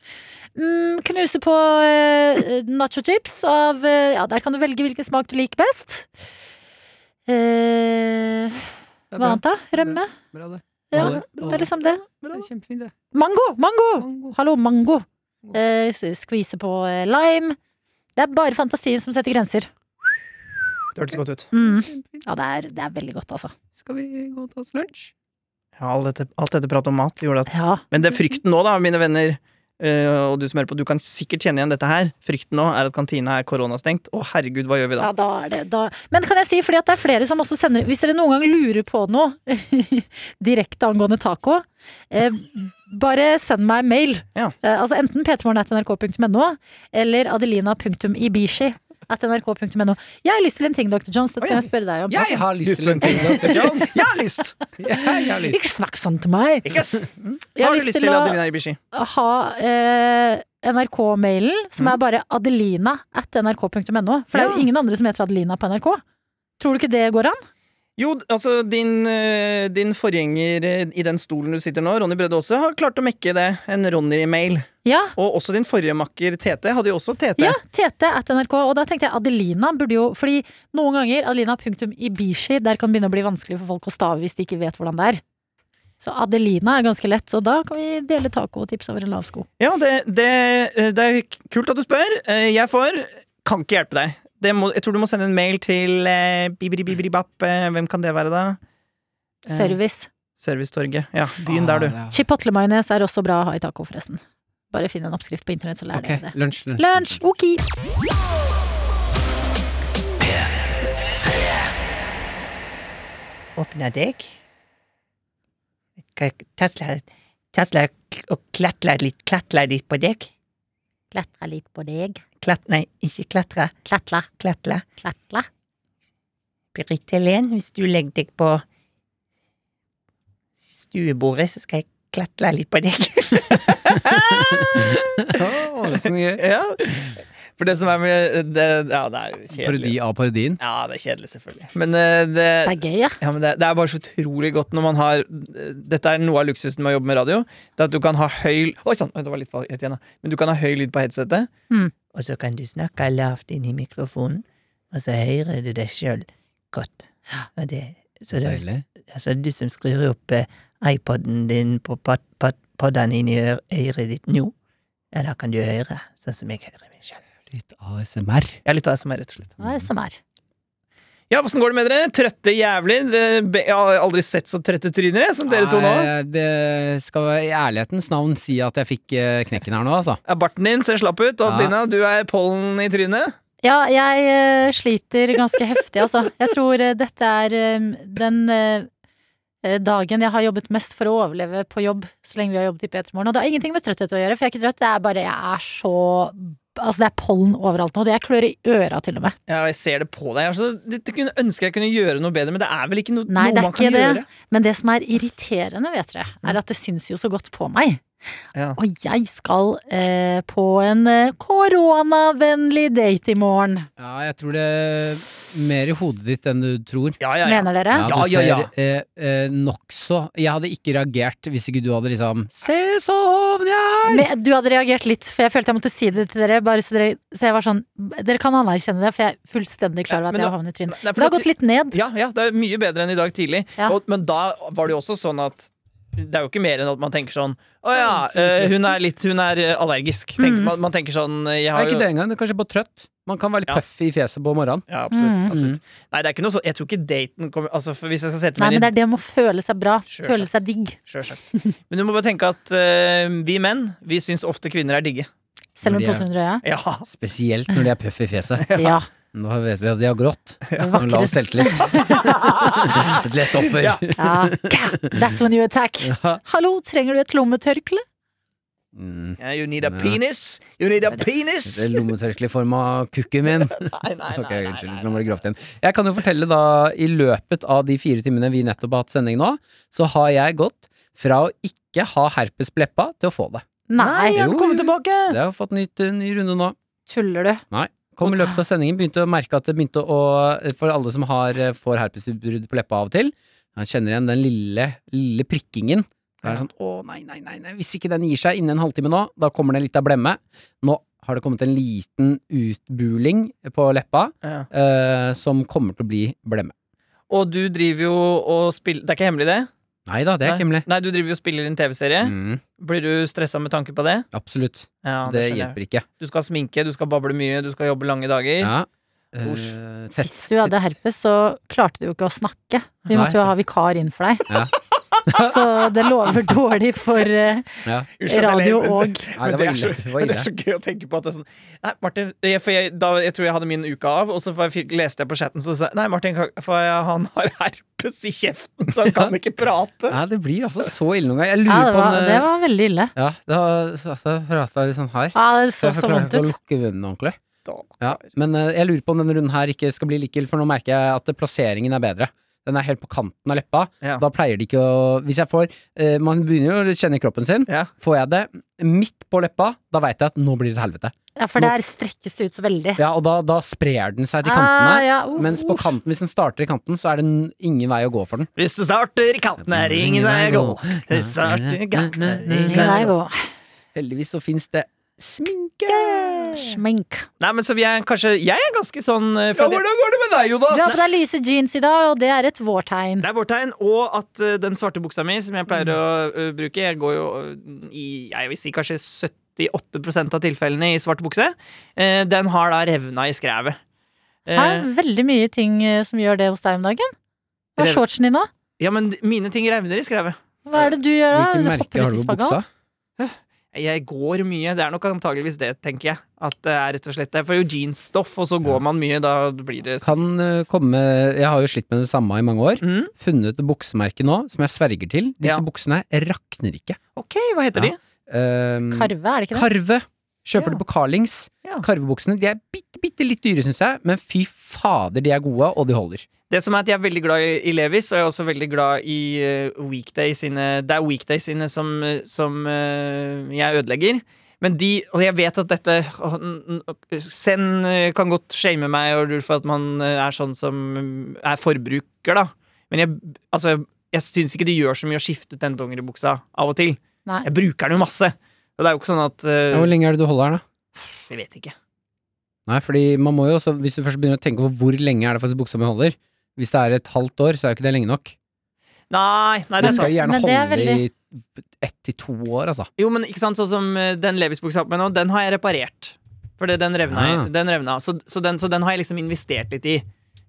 [SPEAKER 2] Mm, knuse på eh, nachochips av eh, Ja, der kan du velge hvilken smak du liker best. Eh,
[SPEAKER 3] Det
[SPEAKER 2] hva
[SPEAKER 3] er bra.
[SPEAKER 2] annet, da? Rømme?
[SPEAKER 3] Bra, det.
[SPEAKER 2] Ja,
[SPEAKER 3] Ja, det-
[SPEAKER 2] det er liksom det.
[SPEAKER 3] Det er kjempefint, det.
[SPEAKER 2] Mango! Mango!
[SPEAKER 3] Mango.
[SPEAKER 2] Hallo, mango.
[SPEAKER 3] Mango.
[SPEAKER 2] Eh, s- skvise på eh, lime. Det er bare fantasien som setter grenser.
[SPEAKER 4] det hørtes godt ut.
[SPEAKER 2] Mm.
[SPEAKER 3] Kjempefint.
[SPEAKER 2] Ja, det er, det er veldig godt, altså.
[SPEAKER 3] Skal vi gå og ta oss lunsj?
[SPEAKER 4] Ja, alt dette, alt dette pratet om mat gjorde at
[SPEAKER 2] Ja.
[SPEAKER 4] Men det er frykten nå, da, mine venner. eh, og du som hører på, du kan sikkert kjenne igjen dette her. Frykten nå er at kantina er koronastengt. Å, herregud, hva gjør vi da?
[SPEAKER 2] Ja, da er det da. Men kan jeg si, fordi at det er flere som også sender Hvis dere noen gang lurer på noe <laughs> direkte angående taco, eh, bare send meg mail.
[SPEAKER 4] Ja.
[SPEAKER 2] Eh, altså enten p3morgen.nrk.no eller adelina.ibishi at nrk.no. Jeg har lyst til en ting, dr. Jones. Dette
[SPEAKER 4] Å, ja.
[SPEAKER 2] kan jeg spørre deg om.
[SPEAKER 3] Jeg har lyst til en ting, Dr. Jones! <laughs> Jeg har lyst! Jeg har <laughs> lyst.
[SPEAKER 2] Ikke snakk sånn til meg! Jeg
[SPEAKER 4] Har du lyst til, Adelina Ibishi?
[SPEAKER 2] ha eh, NRK-mailen, som er bare adelina at nrk.no. For det er
[SPEAKER 4] Mm. Ja.
[SPEAKER 2] jo ingen andre som heter Adelina på NRK. Tror du ikke det går an?
[SPEAKER 4] Jo, altså, din, eh, din forgjenger eh, i den stolen du sitter nå, Ronny Brede Aase, har klart å mekke det. En Ronny-mail.
[SPEAKER 2] Ja.
[SPEAKER 4] Og også din forrige makker Tete hadde jo også Tete.
[SPEAKER 2] Ja, Tete at NRK. Og da tenkte jeg Adelina burde jo Fordi noen ganger adelina.ibishi, der kan det begynne å bli vanskelig for folk å stave hvis de ikke vet hvordan det er. Så Adelina er ganske lett, og da kan vi dele tacotips over en lav sko.
[SPEAKER 4] Ja, det, eh, det, det er kult at du spør. Eh, Jeg får Kan ikke hjelpe deg. Det må, jeg tror du må sende en mail til eh, bibribiribap. eh, Hvem kan det være, da? Eh,
[SPEAKER 2] Service.
[SPEAKER 4] Servicetorget. Ja, byen der, du.
[SPEAKER 2] Chipotle-majones er også bra å ha i taco, forresten. Bare finn en oppskrift på internett, så lær
[SPEAKER 3] Ok,
[SPEAKER 2] dere det.
[SPEAKER 3] lunsj,
[SPEAKER 2] Lunsj!
[SPEAKER 3] lunsj.
[SPEAKER 2] Ok.
[SPEAKER 6] åpna deg. Skal jeg Tesla, Tesla k- og klatre litt, klatre litt på deg.
[SPEAKER 2] Klatra litt på deg.
[SPEAKER 6] Klat, nei, ikke klatre,
[SPEAKER 2] Klatla,
[SPEAKER 6] klatre.
[SPEAKER 2] klatla.
[SPEAKER 6] Britt Helen, hvis du legger deg på stuebordet, så skal jeg klatre litt på deg.
[SPEAKER 3] Åh, det er sånn gøy.
[SPEAKER 4] <laughs> Ja. For det som er med det, Ja, det er jo kjedelig.
[SPEAKER 3] Parodi av parodien.
[SPEAKER 4] Ja, det er kjedelig, selvfølgelig. Men eh, det,
[SPEAKER 2] Det er gøy, ja.
[SPEAKER 4] ja, men det, det er bare så utrolig godt når man har Dette er noe av luksusen med å jobbe med radio. Det er at du kan ha høy Oi sann, det var litt høyt igjen, da. Men du kan ha høy lyd på headsetet.
[SPEAKER 3] Hmm.
[SPEAKER 6] Og så kan du snakke lavt inn i mikrofonen, og så hører du deg sjøl godt. Og det, så det,
[SPEAKER 3] Deilig.
[SPEAKER 6] altså du som skrur opp eh, iPoden din på pod, pod, podden inn i ø- øret ditt nå, ja, da kan du høre sånn som jeg hører meg sjøl.
[SPEAKER 3] Litt ASMR.
[SPEAKER 4] Ja, litt av det som er rett og slett.
[SPEAKER 2] Hva er det som er?
[SPEAKER 4] Ja, Åssen går det med dere? Trøtte jævler? Dere, be- jeg har aldri sett så trøtte tryner, jeg, som dere to nå.
[SPEAKER 3] Nei, Det skal i ærlighetens navn si at jeg fikk eh, knekken her nå, altså.
[SPEAKER 4] Ja, barten din ser slapp ut, og
[SPEAKER 3] Ja.
[SPEAKER 4] Adelina, du er pollen i trynet.
[SPEAKER 2] Ja, jeg eh, sliter ganske heftig, altså. Jeg tror eh, dette er eh, den eh, dagen jeg har jobbet mest for å overleve på jobb, så lenge vi har jobbet i P3morgen. Og det har ingenting med trøtthet å gjøre, for jeg er ikke trøtt. Det er bare jeg er så altså det er pollen overalt nå. Det er klør i øra til og med.
[SPEAKER 4] Ja, og jeg ser det på deg. Altså, det, det kunne ønske jeg kunne gjøre noe bedre, men det er vel ikke noe,
[SPEAKER 2] Nei,
[SPEAKER 4] noe
[SPEAKER 2] det er
[SPEAKER 4] man kan
[SPEAKER 2] ikke det.
[SPEAKER 4] gjøre?
[SPEAKER 2] Men det som er irriterende, vet dere, er at det syns jo så godt på meg.
[SPEAKER 4] Ja.
[SPEAKER 2] Og jeg skal eh, på en eh, koronavennlig date i morgen,
[SPEAKER 3] Ja, jeg tror det er mer i hodet ditt enn du tror.
[SPEAKER 4] Ja, ja, ja.
[SPEAKER 2] mener dere?
[SPEAKER 4] Ja.
[SPEAKER 3] du ser eh, eh, nokså Jeg hadde ikke reagert hvis ikke du hadde liksom Se, så hovn jeg er!
[SPEAKER 2] Men du hadde reagert litt, for jeg følte jeg måtte si det til dere. Bare så, dere, så jeg var sånn Dere kan anerkjenne det, for jeg er fullstendig klar over at
[SPEAKER 4] Men
[SPEAKER 2] jeg
[SPEAKER 4] da-
[SPEAKER 2] har havnet i trynet.
[SPEAKER 4] Nei,
[SPEAKER 2] Det
[SPEAKER 4] for
[SPEAKER 2] har
[SPEAKER 4] da-
[SPEAKER 2] gått litt ned.
[SPEAKER 4] Ja, ja, det er mye bedre enn i dag tidlig.
[SPEAKER 2] Ja.
[SPEAKER 4] Og, men da var det jo også sånn at det er jo ikke mer enn at man tenker sånn Å ja, eh, hun er litt Hun er eh, allergisk. Tenk, man, man tenker sånn eh,
[SPEAKER 3] Nei,
[SPEAKER 4] Jeg har
[SPEAKER 3] ikke
[SPEAKER 4] jo
[SPEAKER 3] det engang. Det er kanskje bare trøtt. Man kan være litt
[SPEAKER 4] Ja.
[SPEAKER 3] puff i fjeset på morgenen.
[SPEAKER 4] ja, absolutt,
[SPEAKER 2] Mm.
[SPEAKER 4] absolutt. Nei, det er ikke noe så Jeg tror ikke daten kommer Altså, for Hvis jeg skal sette
[SPEAKER 2] Nei,
[SPEAKER 4] meg
[SPEAKER 2] men
[SPEAKER 4] inn
[SPEAKER 2] det er det med å føle seg bra.
[SPEAKER 4] Sjølsagt.
[SPEAKER 2] Føle seg digg.
[SPEAKER 4] i Sjølsagt. Men du må bare tenke at eh, vi menn, vi syns ofte kvinner er digge.
[SPEAKER 2] Selv
[SPEAKER 3] Når
[SPEAKER 2] med
[SPEAKER 3] de er-
[SPEAKER 2] posen under øya.
[SPEAKER 4] <laughs> Ja.
[SPEAKER 3] Spesielt når de er puff i <laughs> fjeset.
[SPEAKER 2] Ja.
[SPEAKER 3] Nå vet vi at de har <laughs> grått. Nå La oss
[SPEAKER 2] Vakre.
[SPEAKER 3] selvtillit. <laughs> Et lett offer.
[SPEAKER 4] Ja.
[SPEAKER 2] Ja. That's when you attack. Hallo, trenger du et lommetørkle?
[SPEAKER 3] Mm.
[SPEAKER 4] Yeah, you need a
[SPEAKER 3] Ja.
[SPEAKER 4] penis! You need a penis!
[SPEAKER 3] Det er lommetørkle i form av kukken min.
[SPEAKER 4] Nei, nei,
[SPEAKER 3] Ok,
[SPEAKER 4] nei, nei,
[SPEAKER 3] unnskyld,
[SPEAKER 4] nei.
[SPEAKER 3] nå ble det grovt igjen. Jeg kan jo fortelle da, i løpet av de fire timene vi nettopp har hatt sending nå, så har jeg gått fra å ikke ha herpes på leppa til å få det.
[SPEAKER 2] Nei,
[SPEAKER 4] Nei, han
[SPEAKER 3] Jo,
[SPEAKER 4] kommer
[SPEAKER 3] jo.
[SPEAKER 4] tilbake!
[SPEAKER 3] Det har fått nytt, eh, ny runde nå.
[SPEAKER 2] tuller du?
[SPEAKER 3] Kom i løpet av sendingen, begynte å merke at det begynte å For alle som har, eh, får herpesutbrudd på leppa av og til, man kjenner igjen den lille, lille prikkingen. Det er det sånn, å nei, nei, nei, nei, Hvis ikke den gir seg innen en halvtime nå, da kommer det litt av blemme. Nå har det kommet en liten utbuling på leppa
[SPEAKER 4] Ja.
[SPEAKER 3] eh, som kommer til å bli blemme.
[SPEAKER 4] Og du driver jo og spiller Det er ikke hemmelig, det?
[SPEAKER 3] Nei da, det er ikke hemmelig.
[SPEAKER 4] Nei, du driver jo og spiller inn TV-serie.
[SPEAKER 3] Mm,
[SPEAKER 4] Blir du stressa med tanke på det?
[SPEAKER 3] absolutt.
[SPEAKER 4] Ja,
[SPEAKER 3] det
[SPEAKER 4] skjønner jeg.
[SPEAKER 3] hjelper ikke.
[SPEAKER 4] Du skal sminke, du skal bable mye, du skal jobbe lange dager.
[SPEAKER 3] Ja. eh,
[SPEAKER 4] Usch.
[SPEAKER 3] tett.
[SPEAKER 2] Sist du hadde herpes, så klarte du jo ikke å snakke. Vi måtte jo ha vikar inn for deg.
[SPEAKER 3] Ja.
[SPEAKER 2] <laughs> Så det lover dårlig for eh,
[SPEAKER 3] Ja.
[SPEAKER 4] Husk at jeg
[SPEAKER 2] radio
[SPEAKER 4] lever-
[SPEAKER 2] og
[SPEAKER 3] Nei,
[SPEAKER 4] Men
[SPEAKER 3] det var
[SPEAKER 4] er så-
[SPEAKER 3] ille. Det var
[SPEAKER 4] men
[SPEAKER 3] ille.
[SPEAKER 4] det er så gøy å tenke på at det er sånn Nei, Martin, jeg, for jeg, da, jeg tror jeg hadde min uke av, og så får jeg, leste jeg på chatten, så sa jeg Nei, Martin, kan- for jeg, han har <laughs> herpes i kjeften, så han kan ikke prate.
[SPEAKER 3] Nei, det blir altså så ille noen ganger. Jeg
[SPEAKER 2] Ja,
[SPEAKER 3] lurer
[SPEAKER 2] det
[SPEAKER 3] på om
[SPEAKER 2] var,
[SPEAKER 3] eh,
[SPEAKER 2] det var veldig ille.
[SPEAKER 3] Ja, da altså, prata jeg litt sånn her.
[SPEAKER 2] Ja, det så
[SPEAKER 3] jeg
[SPEAKER 2] så
[SPEAKER 3] klarer
[SPEAKER 2] vondt
[SPEAKER 3] ikke å
[SPEAKER 2] ut.
[SPEAKER 3] lukke munnen ordentlig.
[SPEAKER 4] Da.
[SPEAKER 3] Ja, men eh, jeg lurer på om denne runden her ikke skal bli like ille, for nå merker jeg at eh, plasseringen er bedre. Den er helt på kanten av leppa.
[SPEAKER 4] Ja.
[SPEAKER 3] Da pleier de ikke å Hvis jeg får eh, Man begynner jo å kjenne kroppen sin.
[SPEAKER 4] Ja.
[SPEAKER 3] Får jeg det midt på leppa, da veit jeg at nå blir det et helvete.
[SPEAKER 2] Ja, for der strekkes det ut så veldig.
[SPEAKER 3] Ja, og da, da sprer den seg til
[SPEAKER 2] Ah,
[SPEAKER 3] kantene.
[SPEAKER 2] ja, uh,
[SPEAKER 3] Mens
[SPEAKER 2] uh.
[SPEAKER 3] på kanten, hvis den starter i kanten, så er det n- ingen vei å gå for den.
[SPEAKER 4] Hvis du starter i kanten, er det ingen vei å gå. Hvis du starter i kanten, er det ingen
[SPEAKER 2] Ingen
[SPEAKER 4] vei
[SPEAKER 2] vei
[SPEAKER 4] å
[SPEAKER 2] å
[SPEAKER 4] gå.
[SPEAKER 2] gå.
[SPEAKER 3] Heldigvis så fins det sminke!
[SPEAKER 2] Smink.
[SPEAKER 4] Nei, men så vi er kanskje Jeg er ganske sånn eh, fra det-
[SPEAKER 3] går det med deg,
[SPEAKER 2] Du har på deg lyse jeans i dag, og det er et vårtegn.
[SPEAKER 4] Det er vårt tegn, og at eh, den svarte buksa mi, som jeg pleier å eh, bruke Jeg går jo eh, i jeg vil si kanskje 78 av tilfellene i svart bukse. eh, den har da revna i skrevet. Eh,
[SPEAKER 2] Det er veldig mye ting eh, som gjør det hos deg om dagen. Hva er
[SPEAKER 4] Rev-
[SPEAKER 2] shortsen din nå?
[SPEAKER 4] ja, men d- mine ting revner i skrevet.
[SPEAKER 2] Hva er det du gjør da?
[SPEAKER 3] Hvilket
[SPEAKER 2] Du
[SPEAKER 3] merke
[SPEAKER 2] hopper
[SPEAKER 3] har
[SPEAKER 2] ut
[SPEAKER 3] du
[SPEAKER 2] i
[SPEAKER 3] på buksa?
[SPEAKER 2] spagat?
[SPEAKER 4] Jeg går mye. Det er nok antageligvis det, tenker jeg. At det er rett og slett Jeg får jo jeansstoff, og så går man mye. Da blir det sånn.
[SPEAKER 3] Kan eh, komme Jeg har jo slitt med det samme i mange år.
[SPEAKER 4] Mm.
[SPEAKER 3] Funnet et buksemerke nå som jeg sverger til. Disse
[SPEAKER 4] Ja.
[SPEAKER 3] buksene rakner ikke.
[SPEAKER 4] OK, hva heter
[SPEAKER 3] Ja.
[SPEAKER 4] de?
[SPEAKER 3] Ehm,
[SPEAKER 2] Karve, er det ikke det?
[SPEAKER 3] Karve. Kjøper
[SPEAKER 4] Ja.
[SPEAKER 3] det på Carlings.
[SPEAKER 4] Ja.
[SPEAKER 3] Karvebuksene de er bitte, bitte litt dyre, syns jeg, men fy fader, de er gode, og de holder.
[SPEAKER 4] Det som er at Jeg er veldig glad i, i Levis, og jeg er også veldig glad i eh, Weekday sine Det er Weekday sine som, eh, som eh, jeg ødelegger. Men de, og jeg vet at dette åh, n- n- Send eh, kan godt shame meg og lure for at man eh, er sånn som mm, er forbruker, da. Men jeg, altså, jeg syns ikke det gjør så mye å skifte ut den dongeribuksene av og til.
[SPEAKER 2] Nei.
[SPEAKER 4] Jeg bruker den jo masse. Og det er jo ikke sånn at eh,
[SPEAKER 3] Ja, Hvor lenge er det du holder her, da?
[SPEAKER 4] Jeg vet ikke.
[SPEAKER 3] Nei, fordi man må jo også, Hvis du først begynner å tenke på hvor lenge er det faktisk buksa mi holder Hvis det er et halvt år, så er jo ikke det lenge nok.
[SPEAKER 4] Nei, nei
[SPEAKER 3] Man
[SPEAKER 4] det er sant.
[SPEAKER 3] skal jo gjerne
[SPEAKER 2] Men det er
[SPEAKER 3] holde i ett til to år, altså.
[SPEAKER 4] Jo, men ikke sant, sånn som eh, den Levis-buksa jeg har på meg nå, den har jeg reparert. Fordi den revna.
[SPEAKER 3] Ja.
[SPEAKER 4] Den revna. Så, så, den, så den har jeg liksom investert litt i.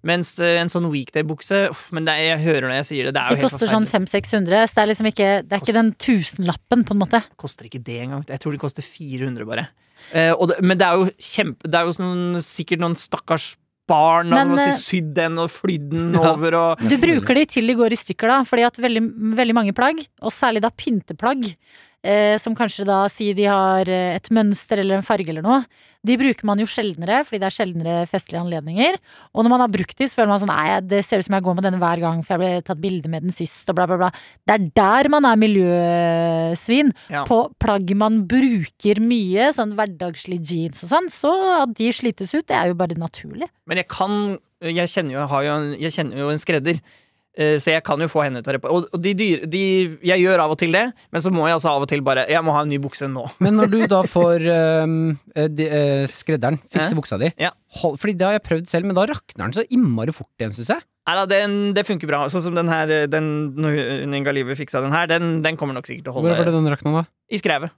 [SPEAKER 4] Mens eh, en sånn weekday-bukse uff, Men det, er- jeg hører når jeg sier det, det er
[SPEAKER 2] Det
[SPEAKER 4] jo helt
[SPEAKER 2] koster sånn
[SPEAKER 4] forferdelig.
[SPEAKER 2] 500-600, så det er liksom ikke Det er ikke den tusenlappen, på en måte.
[SPEAKER 4] Koster ikke det engang. Jeg tror det koster 400, bare. Eh, og det, men det er jo kjempe Det er jo sånn, sikkert noen stakkars barn
[SPEAKER 2] Men,
[SPEAKER 4] som har
[SPEAKER 2] eh,
[SPEAKER 4] sydd den og flydd den
[SPEAKER 3] Ja.
[SPEAKER 4] over og
[SPEAKER 2] Du bruker de til de går i stykker, da. Fordi at veldig, veldig mange plagg, og særlig da pynteplagg, eh, som kanskje da sier de har eh, et mønster eller en farge eller noe, de bruker man jo sjeldnere, fordi det er sjeldnere festlige anledninger. Og når man har brukt de, så føler man sånn Nei, det ser ut som jeg går med denne hver gang, for jeg ble tatt bilde med den sist, og bla, bla, bla. Det er der man er miljøsvin.
[SPEAKER 4] Ja.
[SPEAKER 2] På plagg man bruker mye, sånn hverdagslig jeans og sånn, så at de slites ut, det er jo bare naturlig.
[SPEAKER 4] Men jeg kan Jeg kjenner jo, jeg har jo, en, jeg kjenner jo en skredder. eh, Så jeg kan jo få henne til å reparere. Og og de dyre de, Jeg gjør av og til det, men så må jeg altså av og til bare Jeg må ha en ny bukse nå.
[SPEAKER 3] Men når du da får <laughs> øhm, eh, de, eh, skredderen fikse
[SPEAKER 4] Ja.
[SPEAKER 3] buksa di
[SPEAKER 4] Ja.
[SPEAKER 3] hold, Fordi det har jeg prøvd selv, men da rakner den så innmari fort igjen, syns jeg.
[SPEAKER 4] Nei da, den, det funker bra. Sånn som den her eh, den, Når hun- Inga Live fiksa den her, den, den kommer nok sikkert til å
[SPEAKER 3] Hvor var det
[SPEAKER 4] holde
[SPEAKER 3] den rakna, da?
[SPEAKER 4] i skrevet.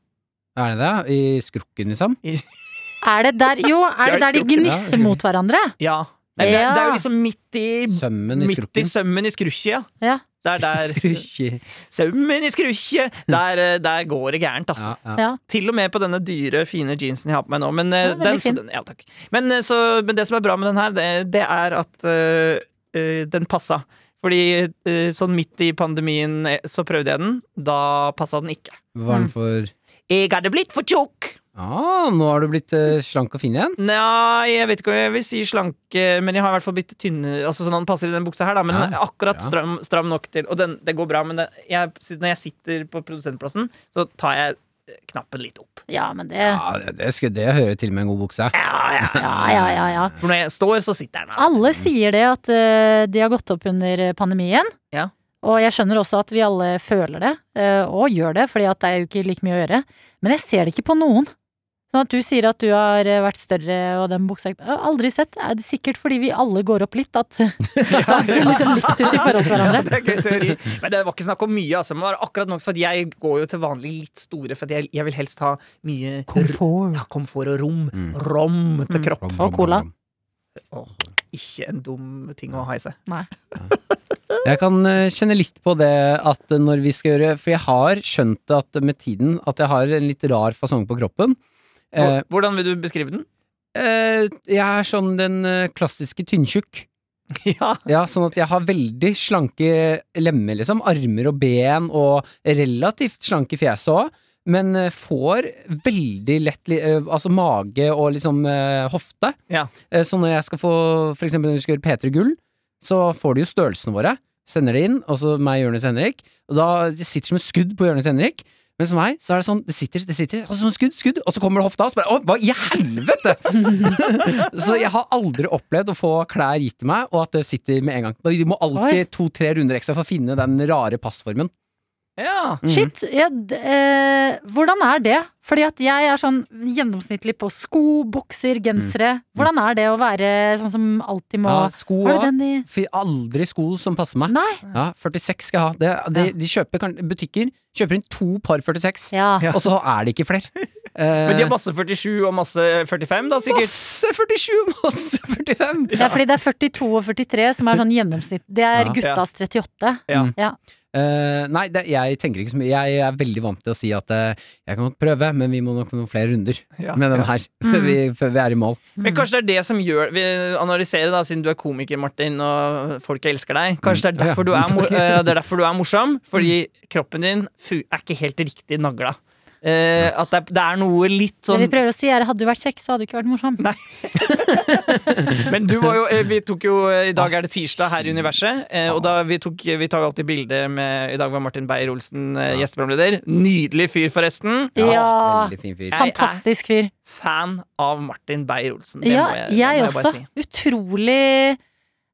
[SPEAKER 3] Er det det? I skrukken, liksom?
[SPEAKER 2] Er det der, jo, er det
[SPEAKER 4] Jeg
[SPEAKER 2] der de
[SPEAKER 4] elsker jo ikke det.
[SPEAKER 2] gnisser mot hverandre?
[SPEAKER 4] Ja. Nei, men Det,
[SPEAKER 2] Ja.
[SPEAKER 4] det er jo liksom midt i
[SPEAKER 3] Sømmen i
[SPEAKER 4] Midt i
[SPEAKER 3] skrukken?
[SPEAKER 4] sømmen i skrusjet, ja.
[SPEAKER 2] Ja.
[SPEAKER 4] Det er
[SPEAKER 3] <laughs>
[SPEAKER 4] der
[SPEAKER 3] Skrukki.
[SPEAKER 4] Sømmen i skrusjet! Der, eh, der går det gærent, altså.
[SPEAKER 3] Ja, ja.
[SPEAKER 2] ja.
[SPEAKER 4] Til og med på denne dyre, fine jeansen jeg har på meg nå. Men, eh,
[SPEAKER 2] Ja, veldig
[SPEAKER 4] den, så,
[SPEAKER 2] fin.
[SPEAKER 4] den, ja, takk. men, eh, så, men det som er bra med den her, det, det er at eh, eh, den passa. Fordi eh, sånn midt i pandemien eh, så prøvde jeg den. Da passa den ikke.
[SPEAKER 3] Var den for
[SPEAKER 4] Jeg hadde blitt for tjukk!
[SPEAKER 3] Ah, nå har du blitt eh, slank og fin igjen?
[SPEAKER 4] Nei, jeg vet ikke om jeg vil si slank, eh, men jeg har i hvert fall blitt tynnere. Altså sånn at den passer i den buksa her, da. Men
[SPEAKER 3] Ja,
[SPEAKER 4] den er akkurat
[SPEAKER 3] bra.
[SPEAKER 4] stram, stram nok til. Og den, det går bra, men det, jeg, synes når jeg sitter på produsentplassen, så tar jeg eh, knappen litt opp.
[SPEAKER 2] Ja, men det
[SPEAKER 3] Ja, det, det, skulle, det hører til med en god bukse.
[SPEAKER 4] Ja, ja.
[SPEAKER 2] Ja, ja, ja, ja.
[SPEAKER 4] For når jeg står, så sitter den. da.
[SPEAKER 2] Alle sier det at eh, de har gått opp under pandemien.
[SPEAKER 4] Ja.
[SPEAKER 2] Og jeg skjønner også at vi alle føler det, eh, og gjør det, fordi at det er jo ikke like mye å gjøre. Men jeg ser det ikke på noen. Sånn at du sier at du har eh, vært større og den buksa Jeg har Aldri sett. Er det sikkert fordi vi alle går opp litt, at at det ser liksom likt ut i forhold til
[SPEAKER 4] <laughs> Ja,
[SPEAKER 2] hverandre.
[SPEAKER 4] det er gøy teori. Men det var ikke snakk om mye, altså. Men det var akkurat nok for at jeg går jo til vanlig litt store, for at jeg, jeg vil helst ha mye
[SPEAKER 2] Komfort.
[SPEAKER 4] ja, komfort og rom.
[SPEAKER 3] Mm.
[SPEAKER 4] Rom til
[SPEAKER 2] Mm.
[SPEAKER 4] kropp.
[SPEAKER 3] Rom,
[SPEAKER 2] Og
[SPEAKER 3] rom,
[SPEAKER 2] cola.
[SPEAKER 3] rom,
[SPEAKER 4] Ikke en dum ting å ha i seg.
[SPEAKER 2] Nei.
[SPEAKER 3] rom. Jeg kan eh, kjenne litt på det at eh, når vi skal gjøre For jeg har skjønt det at med tiden at jeg har en litt rar fasong på kroppen. Eh,
[SPEAKER 4] Hvor- Hvordan vil du beskrive den?
[SPEAKER 3] eh, jeg er sånn den eh, klassiske tynntjukk.
[SPEAKER 4] Ja.
[SPEAKER 3] Ja, sånn at jeg har veldig slanke lemmer, liksom. Armer og ben, og relativt slanke fjes òg. Men eh, får veldig lett li- eh, altså mage og liksom eh, hofte.
[SPEAKER 4] Ja.
[SPEAKER 3] Eh, Så når jeg skal få For eksempel når vi skal gjøre P3 Gull, så får de jo størrelsene våre. Sender det inn, og så meg, Jonis Henrik. Og da det sitter som et skudd på Jonis Henrik. Mens meg, så er det sånn, det sitter, det sitter, og så skudd, skudd, og så kommer det hofta, og så bare, å, hva i helvete! <laughs> Så jeg har aldri opplevd å få klær gitt til meg, og at det sitter med en gang. De må alltid to-tre runder ekstra for å finne den rare passformen.
[SPEAKER 4] ja.
[SPEAKER 3] Mhm.
[SPEAKER 2] Shit. Ja, d- eh, hvordan er det? Fordi at jeg er sånn gjennomsnittlig på sko, bokser, gensere. Hvordan er det å være sånn som alltid må
[SPEAKER 3] Ja, sko
[SPEAKER 2] Har du
[SPEAKER 3] òg.
[SPEAKER 2] den i
[SPEAKER 3] Aldri sko som passer meg.
[SPEAKER 2] Nei.
[SPEAKER 3] Ja, 46 skal jeg ha. Det, de, de kjøper, kan- butikker kjøper inn to par 46,
[SPEAKER 2] Ja.
[SPEAKER 3] og så er det ikke
[SPEAKER 4] <laughs>
[SPEAKER 3] flere. Eh,
[SPEAKER 4] Men de har masse 47 og masse 45, da, sikkert.
[SPEAKER 3] masse 47, masse 45!
[SPEAKER 2] Det er fordi det er 42 og 43 som er sånn gjennomsnitt. Det er
[SPEAKER 3] Ja.
[SPEAKER 2] guttas 38.
[SPEAKER 4] Ja.
[SPEAKER 2] Ja.
[SPEAKER 3] Eh, nei, det, jeg tenker ikke så mye. Jeg er veldig vant til å si at eh, jeg kan godt prøve, men vi må nok noen flere runder
[SPEAKER 4] Ja,
[SPEAKER 3] med den her <laughs> før, vi,
[SPEAKER 2] Mm.
[SPEAKER 3] før vi er i mål.
[SPEAKER 4] Men kanskje det er det som gjør Vi analyserer, da, siden du er komiker, Martin, og folk elsker deg. Kanskje det
[SPEAKER 2] Mm.
[SPEAKER 4] er derfor du er, mo eh, det er, derfor du er morsom? Fordi kroppen din fu er ikke helt riktig nagla. Eh, at det er, det er noe
[SPEAKER 2] Det
[SPEAKER 4] litt sånn
[SPEAKER 2] vi prøver å si er hadde du vært kjekk, så hadde du ikke vært morsom.
[SPEAKER 4] Men du var jo eh, Vi tok jo eh, I dag er det tirsdag her i Universet, eh, og da vi tok Vi tar jo alltid bilde med I dag var Martin Beyer-Olsen eh, gjesteprogramleder. Nydelig fyr, forresten.
[SPEAKER 2] Ja.
[SPEAKER 3] Veldig fin fyr.
[SPEAKER 4] Jeg er
[SPEAKER 2] Fantastisk fyr.
[SPEAKER 4] Fan av Martin Beyer-Olsen. Det
[SPEAKER 2] Ja,
[SPEAKER 4] må jeg, det må
[SPEAKER 2] jeg
[SPEAKER 4] jeg
[SPEAKER 2] også.
[SPEAKER 4] bare si.
[SPEAKER 2] Utrolig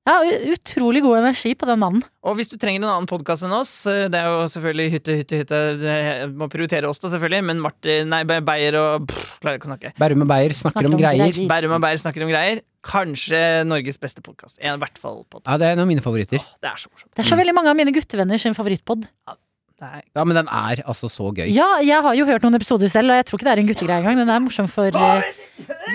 [SPEAKER 2] Ja, u- utrolig god energi på den mannen.
[SPEAKER 4] Og hvis du trenger en annen podkast enn oss, eh, det er jo selvfølgelig hytte, hytte, hytte Jeg må prioritere oss, da, selvfølgelig, men Martin, nei, Be- Beyer og pff, Klarer ikke å snakke.
[SPEAKER 3] Bærum og Beyer snakker om greier.
[SPEAKER 4] Bærum og Beyer snakker om greier. Kanskje Norges beste podkast. I hvert fall podkast.
[SPEAKER 3] Ja, Det er en av mine favoritter.
[SPEAKER 4] Det er så morsomt.
[SPEAKER 2] Det er så veldig mange av mine guttevenner sin favorittpod.
[SPEAKER 4] Det er
[SPEAKER 3] Ja, Men den er altså så gøy.
[SPEAKER 2] Ja, jeg har jo hørt noen episoder selv, og jeg tror ikke det er en guttegreie engang. Den er morsom for eh,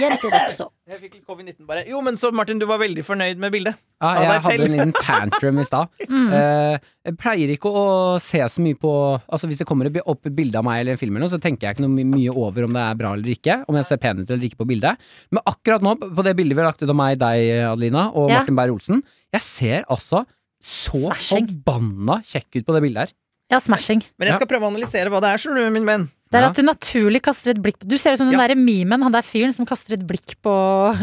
[SPEAKER 2] jenter også.
[SPEAKER 4] jeg fikk litt covid-19, bare. Jo, men så, Martin, du var veldig fornøyd med bildet.
[SPEAKER 3] Ja,
[SPEAKER 4] Av
[SPEAKER 3] jeg
[SPEAKER 4] deg
[SPEAKER 3] hadde
[SPEAKER 4] selv.
[SPEAKER 3] en liten tantrum i
[SPEAKER 2] <laughs>
[SPEAKER 3] stad.
[SPEAKER 2] Mm.
[SPEAKER 3] Eh, jeg pleier ikke å se så mye på Altså Hvis det kommer et bi- opp et bilde av meg eller en film, eller noe, så tenker jeg ikke noe my- mye over om det er bra eller ikke. Om jeg ser pen ut eller ikke på bildet. Men akkurat nå, på det bildet vi har lagt ut av meg, deg, Adelina, og
[SPEAKER 2] Ja.
[SPEAKER 3] Martin Beyer-Olsen, jeg ser altså så
[SPEAKER 2] Smashing.
[SPEAKER 3] forbanna kjekk ut på det bildet her.
[SPEAKER 2] Ja, smashing.
[SPEAKER 4] Men jeg skal prøve å analysere hva det er, skjønner du, min venn.
[SPEAKER 2] Det er
[SPEAKER 3] Ja.
[SPEAKER 2] at du naturlig kaster et blikk på Du ser ut som den
[SPEAKER 4] Ja.
[SPEAKER 2] derre memen, han der fyren som kaster et blikk på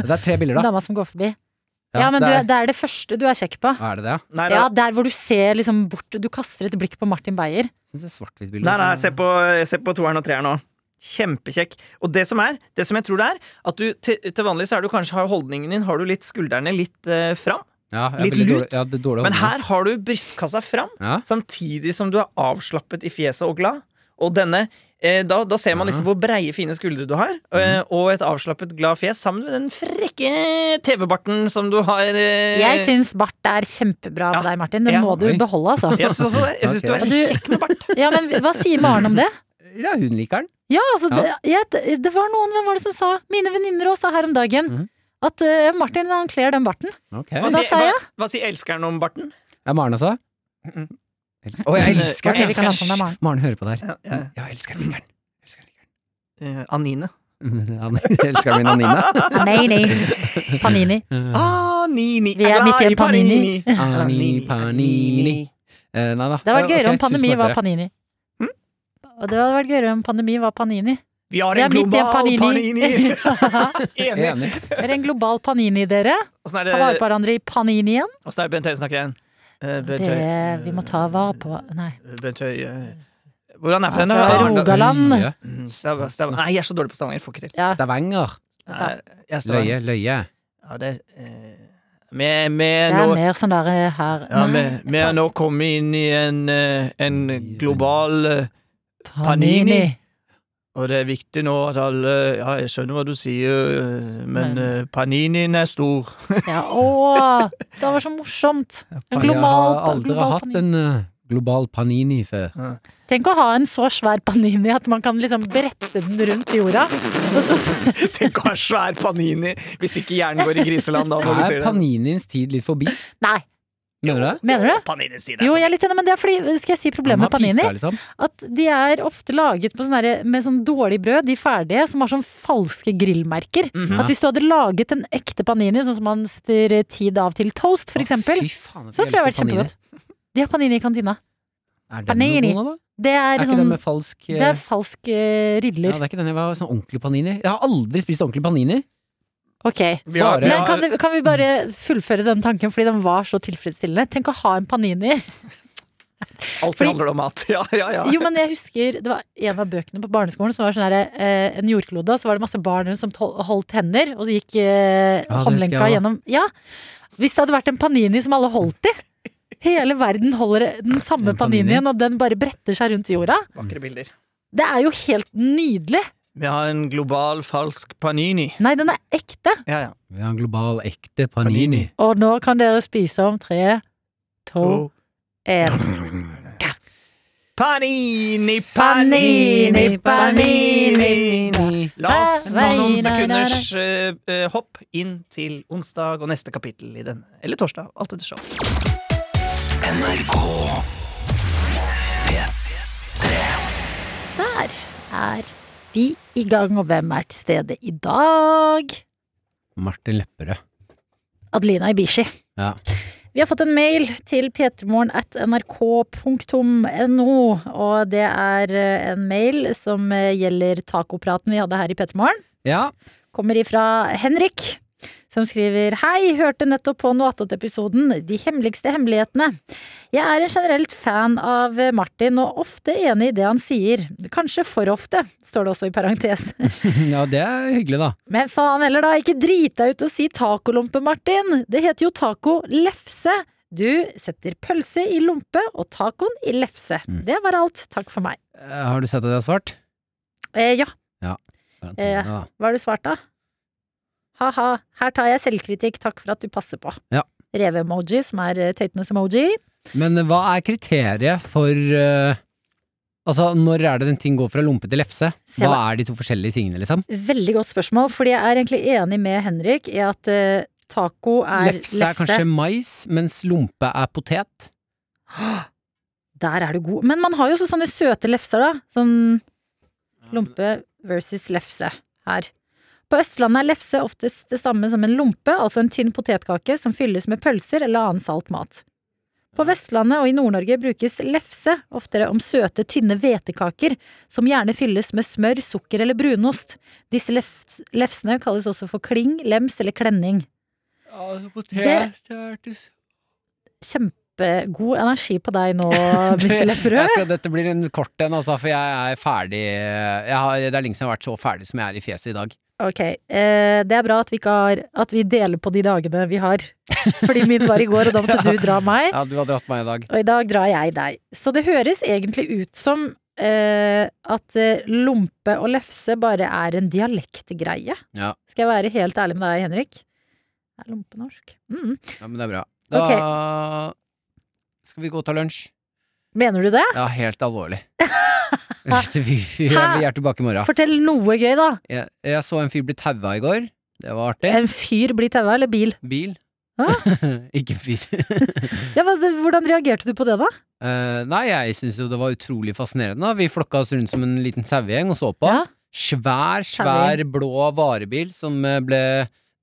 [SPEAKER 3] Det er tre bilder, da.
[SPEAKER 2] dama som går forbi. Ja, men
[SPEAKER 3] det
[SPEAKER 2] du,
[SPEAKER 3] er,
[SPEAKER 2] er- det er det første du er kjekk på.
[SPEAKER 3] er det det? ja?
[SPEAKER 4] Nei,
[SPEAKER 2] Ja,
[SPEAKER 4] nei,
[SPEAKER 2] der hvor du ser liksom bort Du kaster et blikk på Martin Beyer.
[SPEAKER 3] Jeg synes det er svart-hvitt bilde.
[SPEAKER 4] nei, nei se på, se på toeren og treeren nå. Kjempekjekk. Og det som er, det som jeg tror det er, at du til, til vanlig så er du kanskje har holdningen din, har du litt skuldrene litt eh, fram,
[SPEAKER 3] Ja, jeg er
[SPEAKER 4] Litt
[SPEAKER 3] veldig
[SPEAKER 4] lut.
[SPEAKER 3] dårlig- Ja, det er dårlig
[SPEAKER 4] men
[SPEAKER 3] holdning.
[SPEAKER 4] her har du brystkassa fram,
[SPEAKER 3] ja.
[SPEAKER 4] samtidig som du er avslappet i fjeset og glad. Og denne eh, da, da ser man
[SPEAKER 3] Ja. Mhm.
[SPEAKER 4] liksom hvor breie, fine skuldre du har, eh, og et avslappet, glad fjes sammen med den frekke TV-barten som du har. eh,
[SPEAKER 2] Jeg syns bart er kjempebra på
[SPEAKER 4] Ja.
[SPEAKER 2] deg, Martin. Den
[SPEAKER 4] Ja.
[SPEAKER 2] må du
[SPEAKER 3] Oi.
[SPEAKER 2] beholde, altså.
[SPEAKER 4] Jeg syns også det. Jeg syns
[SPEAKER 3] Ok.
[SPEAKER 4] du er kjekk med bart.
[SPEAKER 2] Ja, men hva sier Maren om det?
[SPEAKER 3] ja, hun liker den.
[SPEAKER 2] Ja, altså,
[SPEAKER 3] Ja.
[SPEAKER 2] Det, jeg, det var noen, hvem var det som sa? Mine venninner òg sa her om dagen.
[SPEAKER 3] Mhm.
[SPEAKER 2] At eh, Martin han kler den barten.
[SPEAKER 3] Ok.
[SPEAKER 4] Hva
[SPEAKER 2] da
[SPEAKER 4] sier,
[SPEAKER 2] sa
[SPEAKER 4] hva,
[SPEAKER 2] jeg.
[SPEAKER 4] hva sier elskeren om barten?
[SPEAKER 3] Ja, Maren også?
[SPEAKER 4] Mm.
[SPEAKER 3] Elsker- Å, jeg elsker
[SPEAKER 2] eh, Ok,
[SPEAKER 3] den!
[SPEAKER 2] vi kan late som det er Maren.
[SPEAKER 3] Maren hører på der.
[SPEAKER 4] Ja,
[SPEAKER 3] Ja,
[SPEAKER 4] ja,
[SPEAKER 3] jeg elsker den. Liker den. Elsker den. Liker
[SPEAKER 4] eh, Anine.
[SPEAKER 3] den. Mm, Han <laughs> elsker min Ah, Anina.
[SPEAKER 2] Nei, nei. Panini.
[SPEAKER 4] Ah, Anini.
[SPEAKER 2] Vi er midt i en panini.
[SPEAKER 3] <laughs> Ani, panini. Eh, nei da.
[SPEAKER 2] Det hadde
[SPEAKER 3] <laughs>
[SPEAKER 2] vært
[SPEAKER 3] Eh, ok,
[SPEAKER 2] gøyere om pandemi
[SPEAKER 3] tusen takk Mhm.
[SPEAKER 2] var
[SPEAKER 3] dere.
[SPEAKER 2] panini. Og det hadde vært gøyere om pandemi var panini.
[SPEAKER 4] Vi har
[SPEAKER 2] Vi er
[SPEAKER 4] en
[SPEAKER 2] midt i en
[SPEAKER 4] global
[SPEAKER 2] panini. <laughs>
[SPEAKER 4] panini.
[SPEAKER 3] Jeg er
[SPEAKER 4] Enig.
[SPEAKER 3] Enig.
[SPEAKER 2] Er det en global panini, dere?
[SPEAKER 4] Åssen er
[SPEAKER 2] Ta vare
[SPEAKER 3] Eh,
[SPEAKER 4] det,
[SPEAKER 2] på hverandre i paninien.
[SPEAKER 4] hvordan er det Bent Høie snakker igjen? Eh, Bent
[SPEAKER 2] Det
[SPEAKER 4] Høie,
[SPEAKER 2] vi må ta vare på Nei.
[SPEAKER 4] eh, Bent Høie eh, Hvordan er det for
[SPEAKER 2] Ja, fra
[SPEAKER 4] henne?
[SPEAKER 2] Ro- Rogaland.
[SPEAKER 3] Løye.
[SPEAKER 4] Mm, Stav, stav. Nei, jeg er så dårlig på Stavanger. Får ikke til.
[SPEAKER 2] Ja.
[SPEAKER 3] Stavanger.
[SPEAKER 4] Nei, jeg er Stavanger.
[SPEAKER 3] Løye, løye.
[SPEAKER 4] Ja, det, eh, med, med
[SPEAKER 2] Det er
[SPEAKER 4] nå,
[SPEAKER 2] mer sånn der eh, her
[SPEAKER 4] ja,
[SPEAKER 2] Nei,
[SPEAKER 4] med, med nå kommet inn i en, eh, en global eh, Panini. Og det er viktig nå at alle Ja, jeg skjønner hva du sier, men,
[SPEAKER 2] Men-
[SPEAKER 4] eh, paninien er stor.
[SPEAKER 2] Ja, å, det var så morsomt. En
[SPEAKER 3] Jeg
[SPEAKER 2] global,
[SPEAKER 3] har aldri
[SPEAKER 2] global
[SPEAKER 3] hatt
[SPEAKER 2] panini.
[SPEAKER 3] en eh, global panini før.
[SPEAKER 2] Tenk å ha en så svær panini at man kan liksom brette den rundt jorda. Og så,
[SPEAKER 4] Tenk å ha svær panini hvis ikke hjernen går i griseland da. Når du
[SPEAKER 3] Er
[SPEAKER 4] sier det.
[SPEAKER 3] paniniens tid litt forbi?
[SPEAKER 2] nei,
[SPEAKER 3] Mener du det?
[SPEAKER 2] mener du?
[SPEAKER 4] Panini sier det.
[SPEAKER 2] Jo, jeg er litt enig, men det er fordi Skal jeg si problemet med
[SPEAKER 3] Han har
[SPEAKER 2] panini?
[SPEAKER 3] pika, liksom.
[SPEAKER 2] At de er ofte laget på sånn derre- med sånn dårlig brød, de ferdige, som har sånn falske grillmerker.
[SPEAKER 3] Mhm.
[SPEAKER 2] At hvis du hadde laget en ekte panini, sånn som man setter tid av til toast, for eksempel,
[SPEAKER 3] Fy faen,
[SPEAKER 2] så tror jeg det hadde vært kjempegodt. De har panini i kantina.
[SPEAKER 3] Er det
[SPEAKER 2] Panini.
[SPEAKER 3] noe god, da?
[SPEAKER 2] Det
[SPEAKER 3] Er
[SPEAKER 2] er,
[SPEAKER 3] ikke den
[SPEAKER 2] sånn
[SPEAKER 3] med falsk eh,
[SPEAKER 2] Det er falsk eh,
[SPEAKER 3] ja,
[SPEAKER 2] riller.
[SPEAKER 3] det er ikke den jeg var sånn ordentlig panini. Jeg har aldri spist ordentlig panini.
[SPEAKER 2] Ok.
[SPEAKER 4] Vi har, vi
[SPEAKER 2] Men
[SPEAKER 4] har,
[SPEAKER 2] kan, det- kan vi bare fullføre den tanken, fordi den var så tilfredsstillende? Tenk å ha en panini.
[SPEAKER 4] alltid handler det om mat. <laughs> Ja, ja, ja.
[SPEAKER 2] Jo, men jeg husker Det var en av bøkene på barneskolen som var sånn her, eh, en jordklode, og så var det masse barn rundt som tol- holdt hender, og så gikk eh,
[SPEAKER 3] Ja, det husker
[SPEAKER 2] håndlenka
[SPEAKER 3] jeg også.
[SPEAKER 2] gjennom Ja! Hvis det hadde vært en panini som alle holdt i. Hele verden holder den samme
[SPEAKER 3] En panini.
[SPEAKER 2] paninien, og den bare bretter seg rundt jorda.
[SPEAKER 4] Vakre bilder.
[SPEAKER 2] Det er jo helt nydelig!
[SPEAKER 4] Vi har en global falsk panini.
[SPEAKER 2] Nei, den er ekte.
[SPEAKER 4] Ja, ja.
[SPEAKER 3] Vi har en global, ekte panini.
[SPEAKER 2] Og nå kan dere spise om tre, to,
[SPEAKER 4] To.
[SPEAKER 2] én.
[SPEAKER 4] Panini,
[SPEAKER 2] Panini,
[SPEAKER 4] panini,
[SPEAKER 2] panini.
[SPEAKER 4] panini. La oss ta
[SPEAKER 2] Panini.
[SPEAKER 4] noen sekunders eh, eh, hopp inn til onsdag og neste kapittel i den. Eller torsdag. Alt etter show.
[SPEAKER 2] Der er vi i gang, og hvem er til stede i dag?
[SPEAKER 3] Martin Lepperød.
[SPEAKER 2] Adelina Ibishi.
[SPEAKER 3] Ja.
[SPEAKER 2] Vi har fått en mail til p3morgen at nrk.no, og det er eh, en mail som eh, gjelder tacopraten vi hadde her i P3morgen.
[SPEAKER 3] ja. <laughs>
[SPEAKER 2] Kommer ifra Henrik. Som skriver Hei, hørte nettopp på noe attåt-episoden De hemmeligste hemmelighetene. Jeg er en generelt fan av Martin, og ofte enig i det han sier. Kanskje for ofte, står det også i parentes.
[SPEAKER 3] ja, det er hyggelig, da.
[SPEAKER 2] Men faen heller da, ikke drit deg ut og si tacolompe, Martin. Det heter jo taco lefse. Du setter pølse i lompe og tacoen i lefse.
[SPEAKER 3] Mm.
[SPEAKER 2] Det var alt. Takk for meg.
[SPEAKER 3] Eh, Har du sett at jeg har svart?
[SPEAKER 2] Eh, ja,
[SPEAKER 3] Bare ta
[SPEAKER 2] Eh,
[SPEAKER 3] den, da.
[SPEAKER 2] hva har du svart da? Ha-ha, her tar jeg selvkritikk, takk for at du passer på.
[SPEAKER 3] Ja.
[SPEAKER 2] Reve-emoji, som er eh, tøytenes emoji.
[SPEAKER 3] Men eh, hva er kriteriet for eh, Altså, når er det den ting går fra lompe til lefse?
[SPEAKER 2] Se
[SPEAKER 3] Hva
[SPEAKER 2] hva-
[SPEAKER 3] er de to forskjellige tingene, liksom?
[SPEAKER 2] Veldig godt spørsmål, fordi jeg er egentlig enig med Henrik i at eh, taco er
[SPEAKER 3] Lefse
[SPEAKER 2] lefse.
[SPEAKER 3] er kanskje mais, mens lompe er potet.
[SPEAKER 2] Der er du god. Men man har jo også sånne søte lefser, da. Sånn lompe versus lefse her. På Østlandet er lefse oftest det samme som en lompe, altså en tynn potetkake som fylles med pølser eller annen salt mat. På Vestlandet og i Nord-Norge brukes lefse oftere om søte, tynne hvetekaker, som gjerne fylles med smør, sukker eller brunost. Disse lefs lefsene kalles også for kling, lems eller klenning. Kjempegod energi på deg nå, Mr.
[SPEAKER 3] Jeg
[SPEAKER 2] Lepperød.
[SPEAKER 3] skal, dette blir en kort en, altså, for jeg er ferdig jeg har, Det er lenge siden jeg har vært så ferdig som jeg er i fjeset i dag.
[SPEAKER 2] Ok, eh, det er bra at vi, ikke har, at vi deler på de dagene vi har. Fordi min var i går, og da
[SPEAKER 3] <laughs>
[SPEAKER 2] måtte du dra meg.
[SPEAKER 3] Ja, du har dratt meg i dag.
[SPEAKER 2] Og i dag drar jeg deg. Så det høres egentlig ut som eh, at eh, lompe og lefse bare er en dialektgreie.
[SPEAKER 3] Ja.
[SPEAKER 2] Skal jeg være helt ærlig med deg, Henrik? Er lompe norsk? Mm.
[SPEAKER 3] Ja, men det er bra. Da skal vi gå og ta lunsj.
[SPEAKER 2] Mener du det?
[SPEAKER 3] Ja, helt alvorlig. vi, vi, vi er tilbake i morgen.
[SPEAKER 2] Fortell noe gøy, da.
[SPEAKER 3] Jeg, jeg så en fyr bli taua i går. Det var artig.
[SPEAKER 2] En fyr blir taua, eller bil?
[SPEAKER 3] Bil.
[SPEAKER 2] Eh. Hæ?
[SPEAKER 3] <laughs> Ikke fyr.
[SPEAKER 2] Ja, hva, hvordan reagerte du på det, da?
[SPEAKER 3] Eh, nei, jeg syns jo det var utrolig fascinerende. da. Vi flokka oss rundt som en liten sauegjeng og så på.
[SPEAKER 2] Ja.
[SPEAKER 3] Svær, svær blå varebil som eh, ble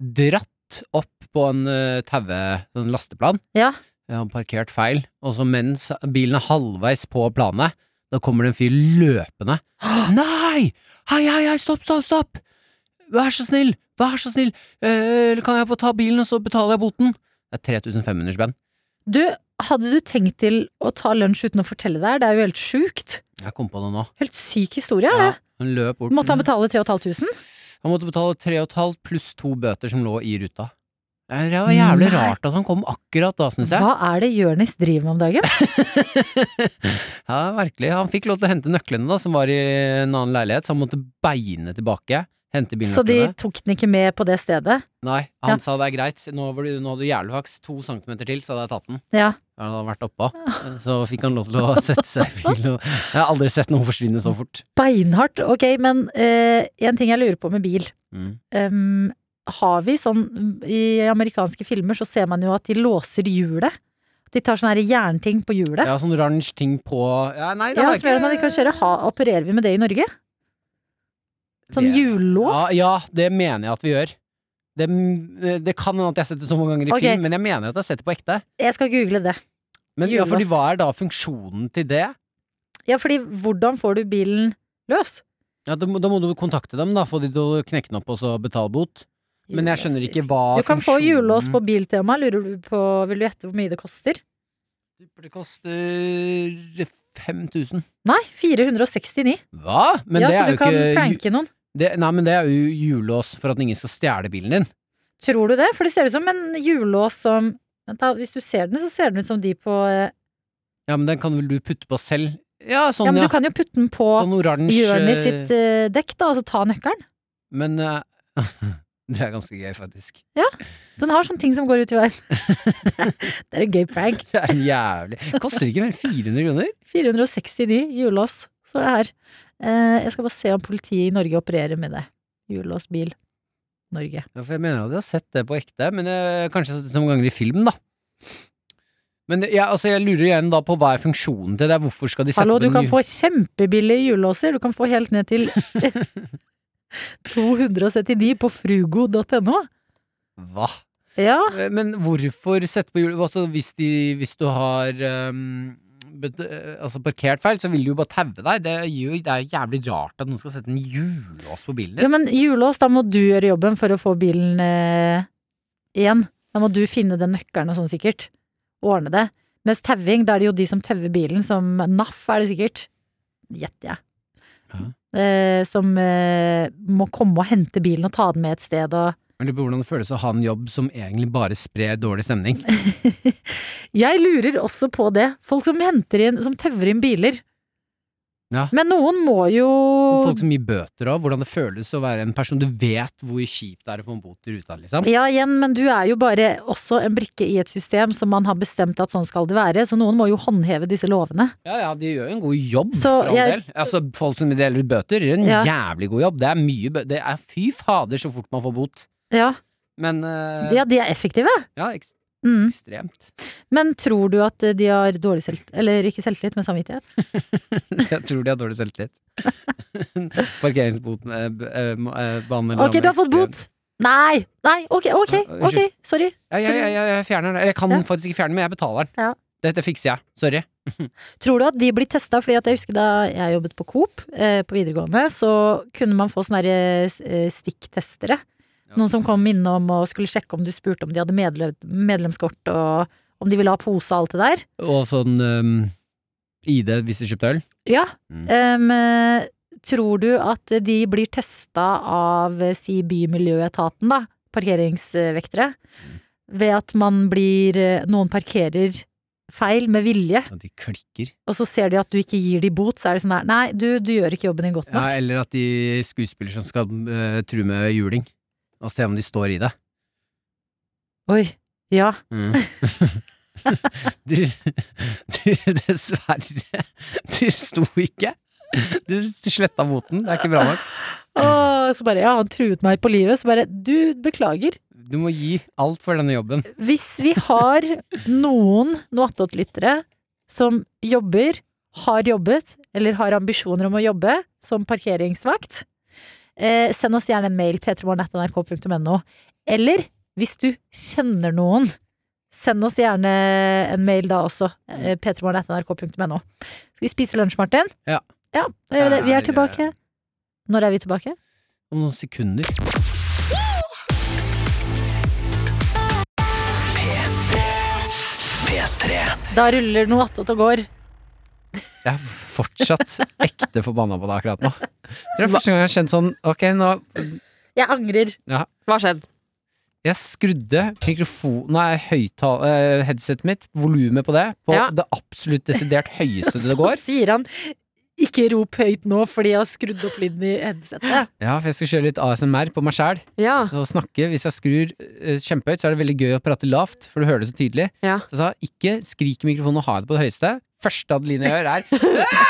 [SPEAKER 3] dratt opp på en uh, taue, en lasteplan.
[SPEAKER 2] Ja.
[SPEAKER 3] Jeg hadde parkert feil, og så mens bilen er halvveis på planet, da kommer det en fyr løpende. Nei! Hei, hei, hei, stopp, stopp, stopp! Vær så snill, vær så snill, Eh, kan jeg få ta bilen, og så betaler jeg boten? Det er 3500 spenn.
[SPEAKER 2] Du, hadde du tenkt til å ta lunsj uten å fortelle det her? Det er jo helt sjukt.
[SPEAKER 3] Jeg kom på det nå.
[SPEAKER 2] Helt syk historie.
[SPEAKER 3] Ja,
[SPEAKER 2] Ja.
[SPEAKER 3] han løp bort.
[SPEAKER 2] Måtte han betale 3500?
[SPEAKER 3] Han måtte betale tre og et halvt pluss to bøter som lå i ruta. Det var jævlig
[SPEAKER 2] Nei.
[SPEAKER 3] rart at han kom akkurat da, syns jeg.
[SPEAKER 2] Hva er det Jørnis driver med om dagen?
[SPEAKER 3] Ja, virkelig. Han fikk lov til å hente nøklene, da, som var i en annen leilighet, så han måtte beine tilbake. Hente
[SPEAKER 2] Så de
[SPEAKER 3] bilnøklene.
[SPEAKER 2] tok den ikke med på det stedet?
[SPEAKER 3] Nei, han
[SPEAKER 2] Ja.
[SPEAKER 3] sa det er greit. Nå, var du, nå hadde du jævlig flaks. To centimeter til, så hadde jeg tatt den.
[SPEAKER 2] Ja.
[SPEAKER 3] Da hadde han vært oppå. Så fikk han lov til å sette seg i bilen. og- Jeg har aldri sett noen forsvinne så fort.
[SPEAKER 2] Beinhardt. Ok, men eh, en ting jeg lurer på med bil.
[SPEAKER 3] Mm.
[SPEAKER 2] Em, har vi sånn I amerikanske filmer så ser man jo at de låser hjulet. De tar sånne her jernting på hjulet. Ja,
[SPEAKER 3] Ja, sånn oransje ting på ja, Nei, det
[SPEAKER 2] ja
[SPEAKER 3] har jeg
[SPEAKER 2] Som gjør at man ikke kan kjøre. Ha, opererer vi med det i Norge? Sånn
[SPEAKER 3] Det- Ja,
[SPEAKER 2] hjullås?
[SPEAKER 3] ja, det mener jeg at vi gjør. Det, eh, det kan hende at jeg har sett det så mange ganger i
[SPEAKER 2] Ok.
[SPEAKER 3] film, men jeg mener at jeg har sett det på ekte.
[SPEAKER 2] Jeg skal google det.
[SPEAKER 3] Men ja, fordi
[SPEAKER 2] Hjullås.
[SPEAKER 3] hva er da funksjonen til det?
[SPEAKER 2] Ja, fordi hvordan får du bilen løs?
[SPEAKER 3] Ja, da, må- da må du kontakte dem, da, få de til å knekke den opp og så betale bot. Men jeg skjønner ikke hva
[SPEAKER 2] Du kan få
[SPEAKER 3] funksjonen-
[SPEAKER 2] hjullås på Biltema. Lurer du på Vil du gjette hvor mye det koster?
[SPEAKER 3] Det koster 5000.
[SPEAKER 2] Nei, 469.
[SPEAKER 3] Hva?! Men
[SPEAKER 2] ja,
[SPEAKER 3] det
[SPEAKER 2] så
[SPEAKER 3] er
[SPEAKER 2] du
[SPEAKER 3] jo
[SPEAKER 2] kan
[SPEAKER 3] ikke ju-
[SPEAKER 2] pranke noen.
[SPEAKER 3] det, Nei, men det er jo hjullås for at ingen skal stjele bilen din.
[SPEAKER 2] Tror du det? For det ser ut som en hjullås som Vent da, Hvis du ser den, så ser den ut som de på eh,
[SPEAKER 3] Ja, men den kan vel du putte på selv? Ja, sånn,
[SPEAKER 2] Ja, men
[SPEAKER 3] ja.
[SPEAKER 2] du kan jo putte den på
[SPEAKER 3] Sånn oransje
[SPEAKER 2] Jørni sitt eh, dekk, da, og så ta nøkkelen.
[SPEAKER 3] Men eh, <laughs> Det er ganske gøy, faktisk.
[SPEAKER 2] Den har sånne ting som går ut i verden.
[SPEAKER 3] <laughs>
[SPEAKER 2] <laughs> det er en gøy prank.
[SPEAKER 3] Det er jævlig Koster ikke mer enn 400 kroner?
[SPEAKER 2] 469 hjullås, står det her. Eh, jeg skal bare se om politiet i Norge opererer med det. Hjullås bil Norge.
[SPEAKER 3] Ja, for jeg mener at jeg har sett det på ekte, men eh, kanskje jeg har sett det så mange ganger i film, da. Men jeg, altså, jeg lurer igjen da på hva er funksjonen til det? Hvorfor skal de sette
[SPEAKER 2] Hallo,
[SPEAKER 3] opp
[SPEAKER 2] du
[SPEAKER 3] en
[SPEAKER 2] kan
[SPEAKER 3] ny-
[SPEAKER 2] få kjempebillige hjullåser. Du kan få helt ned til <laughs> 279 på frugo.no.
[SPEAKER 3] Hva?
[SPEAKER 2] Ja,
[SPEAKER 3] Eh, Men hvorfor sette på hjul altså, hvis, de, hvis du har ehm, bet- eh, altså parkert feil, så vil de jo bare taue deg. Det, gjør, det er jævlig rart at noen skal sette en hjullås på bilen
[SPEAKER 2] Ja,
[SPEAKER 3] din.
[SPEAKER 2] men hjullås, da må du gjøre jobben for å få bilen eh, igjen. Da må du finne den nøkkelen og sånn sikkert. Ordne det. Mens tauing, da er det jo de som tauer bilen, som NAF er det sikkert. Gjetter jeg. Eh, som eh, må komme og hente bilen og ta den med et sted og
[SPEAKER 3] Jeg lurer på hvordan det føles å ha en jobb som egentlig bare sprer dårlig stemning.
[SPEAKER 2] Jeg lurer også på det. Folk som henter inn, som tauer inn biler.
[SPEAKER 3] Ja.
[SPEAKER 2] Men noen må jo
[SPEAKER 3] Folk som gir bøter av, hvordan det føles å være en person du vet hvor kjipt det er å få en bot i ruta, liksom.
[SPEAKER 2] Ja, igjen, men du er jo bare også en brikke i et system som man har bestemt at sånn skal det være, så noen må jo håndheve disse lovene.
[SPEAKER 3] Ja, ja, de gjør jo en god jobb,
[SPEAKER 2] Så
[SPEAKER 3] for all
[SPEAKER 2] jeg-
[SPEAKER 3] del. Altså, folk som deler ut bøter, gjør en
[SPEAKER 2] Ja.
[SPEAKER 3] jævlig god jobb. Det er mye bø... Det er fy fader så fort man får bot.
[SPEAKER 2] Ja,
[SPEAKER 3] Men eh,
[SPEAKER 2] ja de er effektive.
[SPEAKER 3] ja, ekst-
[SPEAKER 2] Mm.
[SPEAKER 3] ekstremt. <laughs>
[SPEAKER 2] Men tror du at eh, de har dårlig selvtillit, eller ikke selvtillit, men samvittighet?
[SPEAKER 3] Jeg tror de har dårlig selvtillit. <laughs> Parkeringsboten eh, b- eh, må- eh, banen mellom
[SPEAKER 2] Ok, du har fått
[SPEAKER 3] ekstremt.
[SPEAKER 2] bot! Nei! Nei, ok, ok,
[SPEAKER 3] Ja,
[SPEAKER 2] ok,
[SPEAKER 3] unnskyld.
[SPEAKER 2] sorry.
[SPEAKER 3] Ja, ja, ja, ja, jeg fjerner den. Eller jeg kan
[SPEAKER 2] Ja.
[SPEAKER 3] faktisk ikke fjerne den, men jeg betaler den.
[SPEAKER 2] Ja.
[SPEAKER 3] Dette fikser jeg. Sorry.
[SPEAKER 2] Tror du at de blir testa? Fordi at jeg husker da jeg jobbet på Coop eh, på videregående, så kunne man få sånne her, eh, stikktestere. Noen som kom innom og skulle sjekke om du spurte om de hadde medle- medlemskort og om de ville ha pose og alt det der.
[SPEAKER 3] Og sånn ehm, ID hvis du kjøpte øl.
[SPEAKER 2] Ja.
[SPEAKER 3] Mm.
[SPEAKER 2] em, eh, tror du at de blir testa av eh, si Bymiljøetaten, da, parkeringsvektere,
[SPEAKER 3] Mm.
[SPEAKER 2] ved at man blir eh, Noen parkerer feil med vilje,
[SPEAKER 3] At de klikker.
[SPEAKER 2] og så ser de at du ikke gir de bot, så er det sånn her Nei, du, du gjør ikke jobben din godt
[SPEAKER 3] Ja,
[SPEAKER 2] nok.
[SPEAKER 3] eller at de skuespiller som skal eh, true med juling. Og se om de står i det.
[SPEAKER 2] Oi. Ja.
[SPEAKER 3] Mm. <laughs> du, du, dessverre. Du sto ikke. Du sletta moten. Det er ikke bra nok.
[SPEAKER 2] Og så bare Ja, han truet meg på livet. Så bare Du, beklager.
[SPEAKER 3] Du må gi alt for denne jobben.
[SPEAKER 2] Hvis vi har noen Noatot-lyttere som jobber, har jobbet eller har ambisjoner om å jobbe som parkeringsvakt, eh, send oss gjerne en mail p3morgen.nrk.no. Eller hvis du kjenner noen, send oss gjerne en mail da også. Eh, p3morgen.nrk.no. Skal vi spise lunsj, Martin?
[SPEAKER 3] Ja.
[SPEAKER 2] ja da gjør vi, det. vi er
[SPEAKER 3] Det er-
[SPEAKER 2] tilbake. Når er vi tilbake?
[SPEAKER 3] Om noen sekunder.
[SPEAKER 2] Da ruller noe attåt og går.
[SPEAKER 3] Jeg er fortsatt ekte forbanna på deg akkurat nå. Jeg tror det er første gang jeg har kjent sånn Ok, nå
[SPEAKER 2] Jeg angrer.
[SPEAKER 7] Hva har skjedd?
[SPEAKER 3] Jeg skrudde mikrofon... Nei, høyttal- eh, headsetet mitt, volumet på det, på
[SPEAKER 7] Ja.
[SPEAKER 3] det absolutt desidert høyeste det går.
[SPEAKER 2] Så sier han ikke rop høyt nå fordi jeg har skrudd opp lyden i headsetet.
[SPEAKER 3] Ja, for jeg skal kjøre litt ASMR på meg sjæl.
[SPEAKER 7] Ja.
[SPEAKER 2] Ah.
[SPEAKER 3] Så snakke, Hvis jeg skrur eh, kjempehøyt, så er det veldig gøy å prate lavt, for du hører det så tydelig.
[SPEAKER 7] Ja.
[SPEAKER 3] Så jeg sa ikke skrik i mikrofonen og ha det på det høyeste. Første Adeline gjør, er <laughs>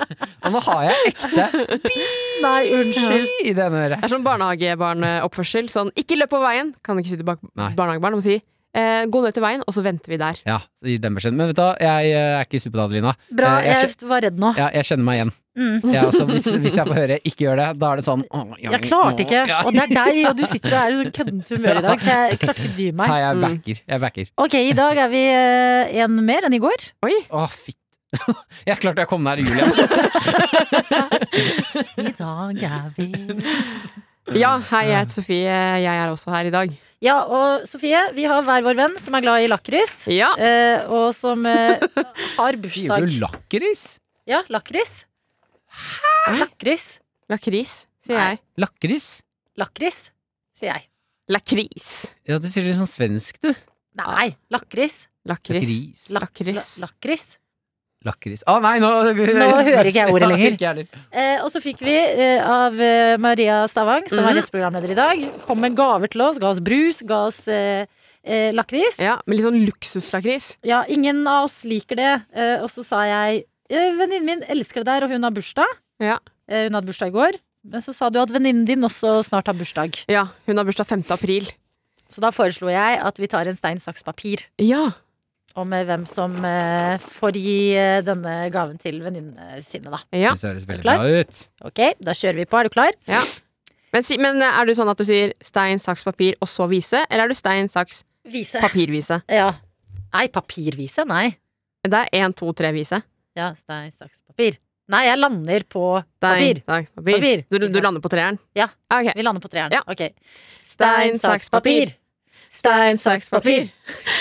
[SPEAKER 3] Og nå har jeg ekte
[SPEAKER 2] Nei, unnskyld.
[SPEAKER 3] i det ene øret.
[SPEAKER 7] Det er sånn barnehagebarnoppførsel. Sånn, ikke løp på veien! Kan du ikke si til bak-
[SPEAKER 3] Nei.
[SPEAKER 7] barnehagebarn om å si eh, gå ned til veien, og så venter vi der.
[SPEAKER 3] Ja, i den beskjeden. Men vet du hva, jeg eh, er ikke Super-Adelina.
[SPEAKER 2] Bra,
[SPEAKER 3] Eh, jeg
[SPEAKER 2] jeg var redd nå.
[SPEAKER 3] Ja, jeg kjenner meg igjen.
[SPEAKER 2] Mm.
[SPEAKER 3] Ja, altså, hvis, hvis jeg får høre 'ikke gjør det', da er det
[SPEAKER 2] <laughs>
[SPEAKER 3] sånn «Åh, ja,
[SPEAKER 2] Jeg klarte ikke.
[SPEAKER 3] ja.
[SPEAKER 2] Og det er deg, og du sitter og er i sånn køddent humør i dag, så jeg klarte ikke å dy meg.
[SPEAKER 3] Nei, jeg
[SPEAKER 7] Mm.
[SPEAKER 3] backer. Jeg backer.
[SPEAKER 2] Ok, i dag er vi eh, en mer enn i går.
[SPEAKER 3] Å, fitt. <laughs> Jeg klarte jeg kom
[SPEAKER 2] <laughs>
[SPEAKER 3] nær Julia.
[SPEAKER 2] I dag er vi
[SPEAKER 7] Ja, hei, jeg heter Sofie. eh, Jeg er også her i dag.
[SPEAKER 2] Ja, og Sofie, vi har hver vår venn som er glad i lakris.
[SPEAKER 7] Ja.
[SPEAKER 2] eh, Og som eh, har
[SPEAKER 3] Sier
[SPEAKER 2] bursdag.
[SPEAKER 3] du lakris?
[SPEAKER 2] Ja, lakris. Lakris.
[SPEAKER 7] Lakris, sier jeg.
[SPEAKER 3] Lakris?
[SPEAKER 2] Lakris, sier jeg.
[SPEAKER 7] Lakris.
[SPEAKER 3] Ja, du sier det litt sånn svensk, du.
[SPEAKER 2] Nei, lakris.
[SPEAKER 7] Lakris.
[SPEAKER 3] Lakris.
[SPEAKER 2] La-
[SPEAKER 7] Lakris.
[SPEAKER 2] Lakris.
[SPEAKER 3] Lakris. Å nei, nå
[SPEAKER 2] Nå hører ikke
[SPEAKER 3] <laughs>
[SPEAKER 2] jeg ordet
[SPEAKER 3] Nei,
[SPEAKER 2] lenger.
[SPEAKER 3] ikke jeg heller.
[SPEAKER 2] Eh, og så fikk vi eh, av eh, Maria Stavang, som
[SPEAKER 7] Mhm.
[SPEAKER 2] er gjesteprogramleder i dag, kom med gaver til oss. Ga oss brus, ga oss eh, eh, lakris. Ja.
[SPEAKER 7] Ja, men litt sånn luksuslakris.
[SPEAKER 2] ingen av oss liker det. Eh, og så sa jeg eh, venninnen min elsker det der, og hun har bursdag.
[SPEAKER 7] Ja.
[SPEAKER 2] Eh, hun hadde bursdag i går. Men så sa du at venninnen din også snart har bursdag.
[SPEAKER 7] Ja, hun har bursdag 5. april.
[SPEAKER 2] Så da foreslo jeg at vi tar en stein, saks, papir
[SPEAKER 7] Ja.
[SPEAKER 2] om eh, hvem som eh, får gi eh, denne gaven til venninnene sine, da.
[SPEAKER 7] ja.
[SPEAKER 3] Det høres veldig
[SPEAKER 2] Klar?
[SPEAKER 3] bra ut.
[SPEAKER 2] Ok, da kjører vi på. Er du klar?
[SPEAKER 7] Men, si, men er du sånn at du sier stein, saks, papir og så vise? Eller er du stein, saks,
[SPEAKER 2] Vise.
[SPEAKER 7] papir, vise?
[SPEAKER 2] Ja. Nei, papirvise? Nei.
[SPEAKER 7] Det er én, to, tre, vise.
[SPEAKER 2] Ja, stein, saks, papir. Nei, jeg lander på
[SPEAKER 7] Stein,
[SPEAKER 2] papir.
[SPEAKER 7] saks, papir.
[SPEAKER 2] Papir.
[SPEAKER 7] Du, du lander på treeren? Ah,
[SPEAKER 2] Ja.
[SPEAKER 7] Ok.
[SPEAKER 2] Vi lander på treeren.
[SPEAKER 7] Ja.
[SPEAKER 2] Ok.
[SPEAKER 7] Stein, saks, papir.
[SPEAKER 2] Stein, saks, papir.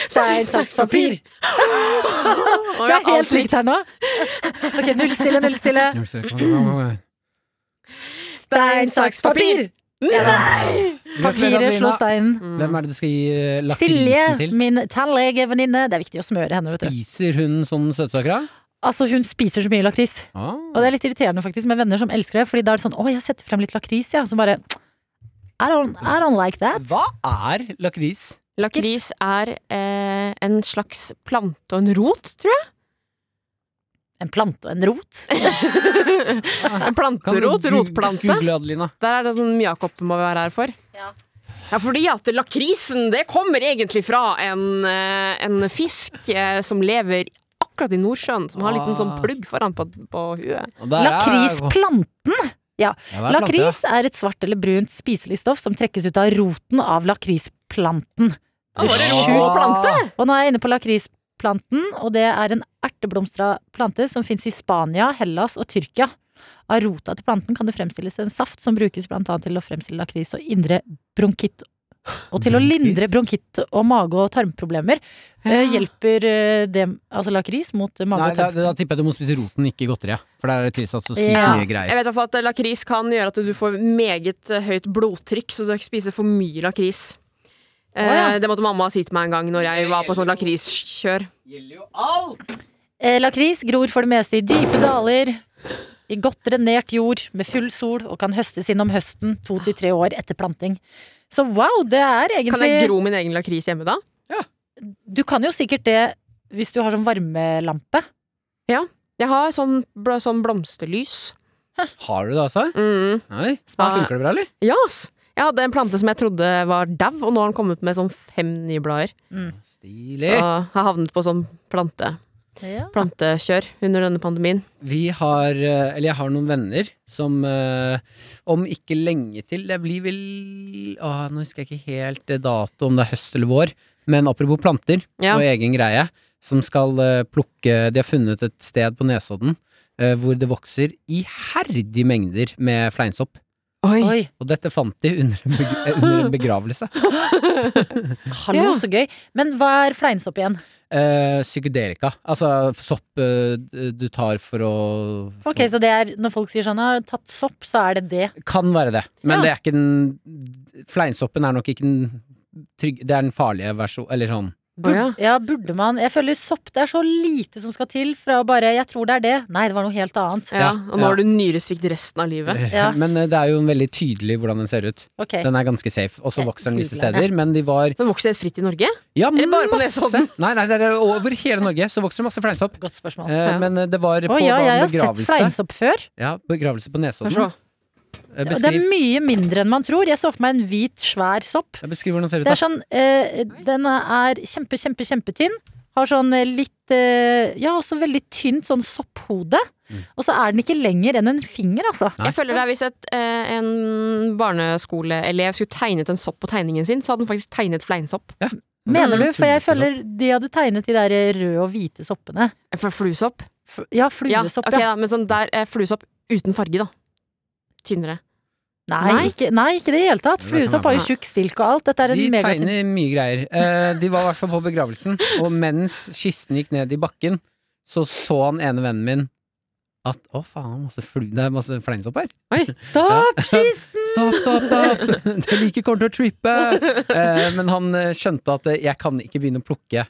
[SPEAKER 2] Stein, saks, papir. Det er helt likt her nå. Ok, null stille, null stille. Stein, saks, papir. Papiret slår steinen.
[SPEAKER 7] Mm.
[SPEAKER 3] Hvem er det du skal gi eh,
[SPEAKER 2] Silje,
[SPEAKER 3] lakrisen til?
[SPEAKER 2] min tannlegevenninne. Det er viktig å smøre henne, vet du.
[SPEAKER 3] Spiser hun sånne søtsaker, da?
[SPEAKER 2] Altså, hun spiser så mye lakris.
[SPEAKER 3] Ah.
[SPEAKER 2] Og det er litt irriterende faktisk med venner som elsker det, fordi da er det sånn 'Å, jeg setter frem litt lakris', ja. Så bare I don't, I don't like that.
[SPEAKER 3] Hva er lakris?
[SPEAKER 7] Lakris er eh, en slags plante og en rot, tror jeg.
[SPEAKER 2] En plante og en rot.
[SPEAKER 7] En planterot, rotplante.
[SPEAKER 3] Google Adelina.
[SPEAKER 7] Der er det sånn Jakob må være her for.
[SPEAKER 2] Ja.
[SPEAKER 7] Ja, fordi at lakrisen det kommer egentlig fra en, eh, en fisk eh, som lever akkurat i Nordsjøen, som har en liten sånn
[SPEAKER 3] Ah.
[SPEAKER 7] plugg foran på, på huet.
[SPEAKER 2] Lakrisplanten.
[SPEAKER 3] Ja, det er plante,
[SPEAKER 2] Lakris er et svart eller brunt spiselig stoff som trekkes ut av roten av lakrisplanten.
[SPEAKER 7] Ah, var det rot
[SPEAKER 2] Sjukt.
[SPEAKER 7] og plante?
[SPEAKER 2] Og nå er jeg inne på lakris planten, og det er en erteblomstra plante som fins i Spania, Hellas og Tyrkia. Av rota til planten kan det fremstilles en saft som brukes bl.a. til å fremstille lakris og indre bronkitt. Og til å lindre bronkitt og mage- og tarmproblemer. Eh, hjelper eh, det altså lakris mot eh,
[SPEAKER 3] Nei,
[SPEAKER 2] mage- og
[SPEAKER 3] da,
[SPEAKER 2] tarm...
[SPEAKER 3] da tipper jeg du må spise roten, ikke godteriet. For der er det tilsatt så sykt
[SPEAKER 2] Ja.
[SPEAKER 3] mye
[SPEAKER 7] Jeg
[SPEAKER 3] greier.
[SPEAKER 7] vet i hvert fall at lakris kan gjøre at du får meget eh, høyt blodtrykk, så du ikke spiser for mye lakris. Eh,
[SPEAKER 2] Å, ja.
[SPEAKER 7] Det måtte mamma si til meg en gang når jeg var på sånn lakriskjør.
[SPEAKER 2] Eh, Lakris gror for det meste i dype daler, i godt drenert jord med full sol, og kan høstes innom høsten to til tre år etter planting. Så wow, det er
[SPEAKER 7] Kan jeg
[SPEAKER 2] egentlig
[SPEAKER 7] gro min egen lakris hjemme da?
[SPEAKER 2] Du kan jo sikkert det hvis du har sånn varmelampe.
[SPEAKER 7] Jeg har sånn, bl sånn blomsterlys.
[SPEAKER 3] Har du det, altså?
[SPEAKER 7] Mm.
[SPEAKER 3] Nei.
[SPEAKER 7] Ja.
[SPEAKER 3] Funker det bra, eller?
[SPEAKER 7] Ja, ass! Jeg hadde en plante som jeg trodde var dau, og nå har den kommet med sånn fem nye blader. Så
[SPEAKER 2] Eh.
[SPEAKER 3] Stilig.
[SPEAKER 7] jeg har havnet på sånn plante, plantekjør under denne pandemien.
[SPEAKER 3] Vi har eh, Eller jeg har noen venner som eh, om ikke lenge til Det blir vel åh, Nå husker jeg ikke helt eh, dato, om det er høst eller vår. Men apropos planter
[SPEAKER 7] Ja.
[SPEAKER 3] og egen greie, som skal eh, plukke De har funnet et sted på Nesodden eh, hvor det vokser iherdige mengder med fleinsopp.
[SPEAKER 2] Oi,
[SPEAKER 3] Og dette fant de under en, beg <laughs> eh, under en begravelse.
[SPEAKER 2] hallo,
[SPEAKER 7] Ja.
[SPEAKER 2] så gøy. Men hva er fleinsopp igjen?
[SPEAKER 3] Eh, psykedelika. Altså sopp eh, du tar for å Mm.
[SPEAKER 2] Ok, Så det er når folk sier sånn har tatt sopp, så er det det.
[SPEAKER 3] Kan være det, men
[SPEAKER 2] Ja.
[SPEAKER 3] det er ikke den Fleinsoppen er nok ikke den trygge Det er den farlige versjonen, eller sånn.
[SPEAKER 7] Å, ja.
[SPEAKER 2] Ja, burde man Jeg føler sopp, det er så lite som skal til fra å bare 'jeg tror det er det'. Nei, det var noe helt annet.
[SPEAKER 7] Ja, og nå
[SPEAKER 3] ja.
[SPEAKER 7] har du nyresvikt resten av livet.
[SPEAKER 2] Ja.
[SPEAKER 3] <laughs> Men eh, det er jo en veldig tydelig hvordan den ser ut.
[SPEAKER 2] Ok.
[SPEAKER 3] Den er ganske safe, og så
[SPEAKER 2] Jeg
[SPEAKER 3] vokser den visse
[SPEAKER 2] googler
[SPEAKER 3] steder, men de var
[SPEAKER 7] Den vokser helt fritt i Norge.
[SPEAKER 2] Mm.
[SPEAKER 3] Ja,
[SPEAKER 7] Eller bare på
[SPEAKER 3] masse!
[SPEAKER 2] sånn.
[SPEAKER 7] Nesodden?
[SPEAKER 3] Nei, nei, det er over hele Norge så vokser det masse fleinsopp.
[SPEAKER 2] Godt spørsmål.
[SPEAKER 3] Eh,
[SPEAKER 7] Ja.
[SPEAKER 3] Men eh, det var på
[SPEAKER 2] Å ja,
[SPEAKER 3] da,
[SPEAKER 2] jeg har sett
[SPEAKER 3] begravelse.
[SPEAKER 2] fleinsopp før.
[SPEAKER 3] Ja, begravelse på
[SPEAKER 7] Vær
[SPEAKER 3] Nesodden.
[SPEAKER 7] så god.
[SPEAKER 3] Eh,
[SPEAKER 2] Ja, Det er
[SPEAKER 3] Beskriv,
[SPEAKER 2] mye mindre enn man tror. Jeg så for meg en hvit, svær sopp.
[SPEAKER 3] Ja, beskriv hvordan den ser ut,
[SPEAKER 2] Det
[SPEAKER 3] da.
[SPEAKER 2] er sånn, eh, Den er kjempe, kjempe, kjempetynn. Har sånn eh, litt eh, Ja, også veldig tynt sånn sopphode. Og så er den ikke lenger enn en finger, altså.
[SPEAKER 3] Mm. Nei.
[SPEAKER 7] Jeg føler det er Hvis et, eh, en barneskoleelev skulle tegnet en sopp på tegningen sin, så hadde den faktisk tegnet fleinsopp.
[SPEAKER 2] Mener du?
[SPEAKER 3] Mm.
[SPEAKER 2] For jeg
[SPEAKER 3] Tullete
[SPEAKER 2] føler de hadde tegnet de der eh, røde og hvite soppene.
[SPEAKER 7] Eh, For fluesopp?
[SPEAKER 2] F- Ja,
[SPEAKER 7] Ja,
[SPEAKER 2] fluesopp,
[SPEAKER 7] ok
[SPEAKER 2] ja.
[SPEAKER 7] da, men sånn der eh, fluesopp uten farge, da. Tynnere.
[SPEAKER 2] Nei,
[SPEAKER 7] Nei.
[SPEAKER 2] ikke, nei, ikke det i det hele tatt.
[SPEAKER 3] Det kan
[SPEAKER 2] Fluesopp har jo
[SPEAKER 7] være.
[SPEAKER 2] tjukk stilk og alt. Dette er en
[SPEAKER 3] De
[SPEAKER 2] megatynn
[SPEAKER 3] tegner mye greier. Eh, de var i hvert fall på begravelsen, og mens kisten gikk ned i bakken, så så han ene vennen min at å faen, masse flu, det er masse fleinsopp her.
[SPEAKER 2] Stopp!
[SPEAKER 3] <laughs>
[SPEAKER 2] Skis!
[SPEAKER 3] Stopp, stopp, stopp! <laughs> Det like kommer til å trippe! Eh, men han eh, skjønte at eh, jeg kan ikke begynne å plukke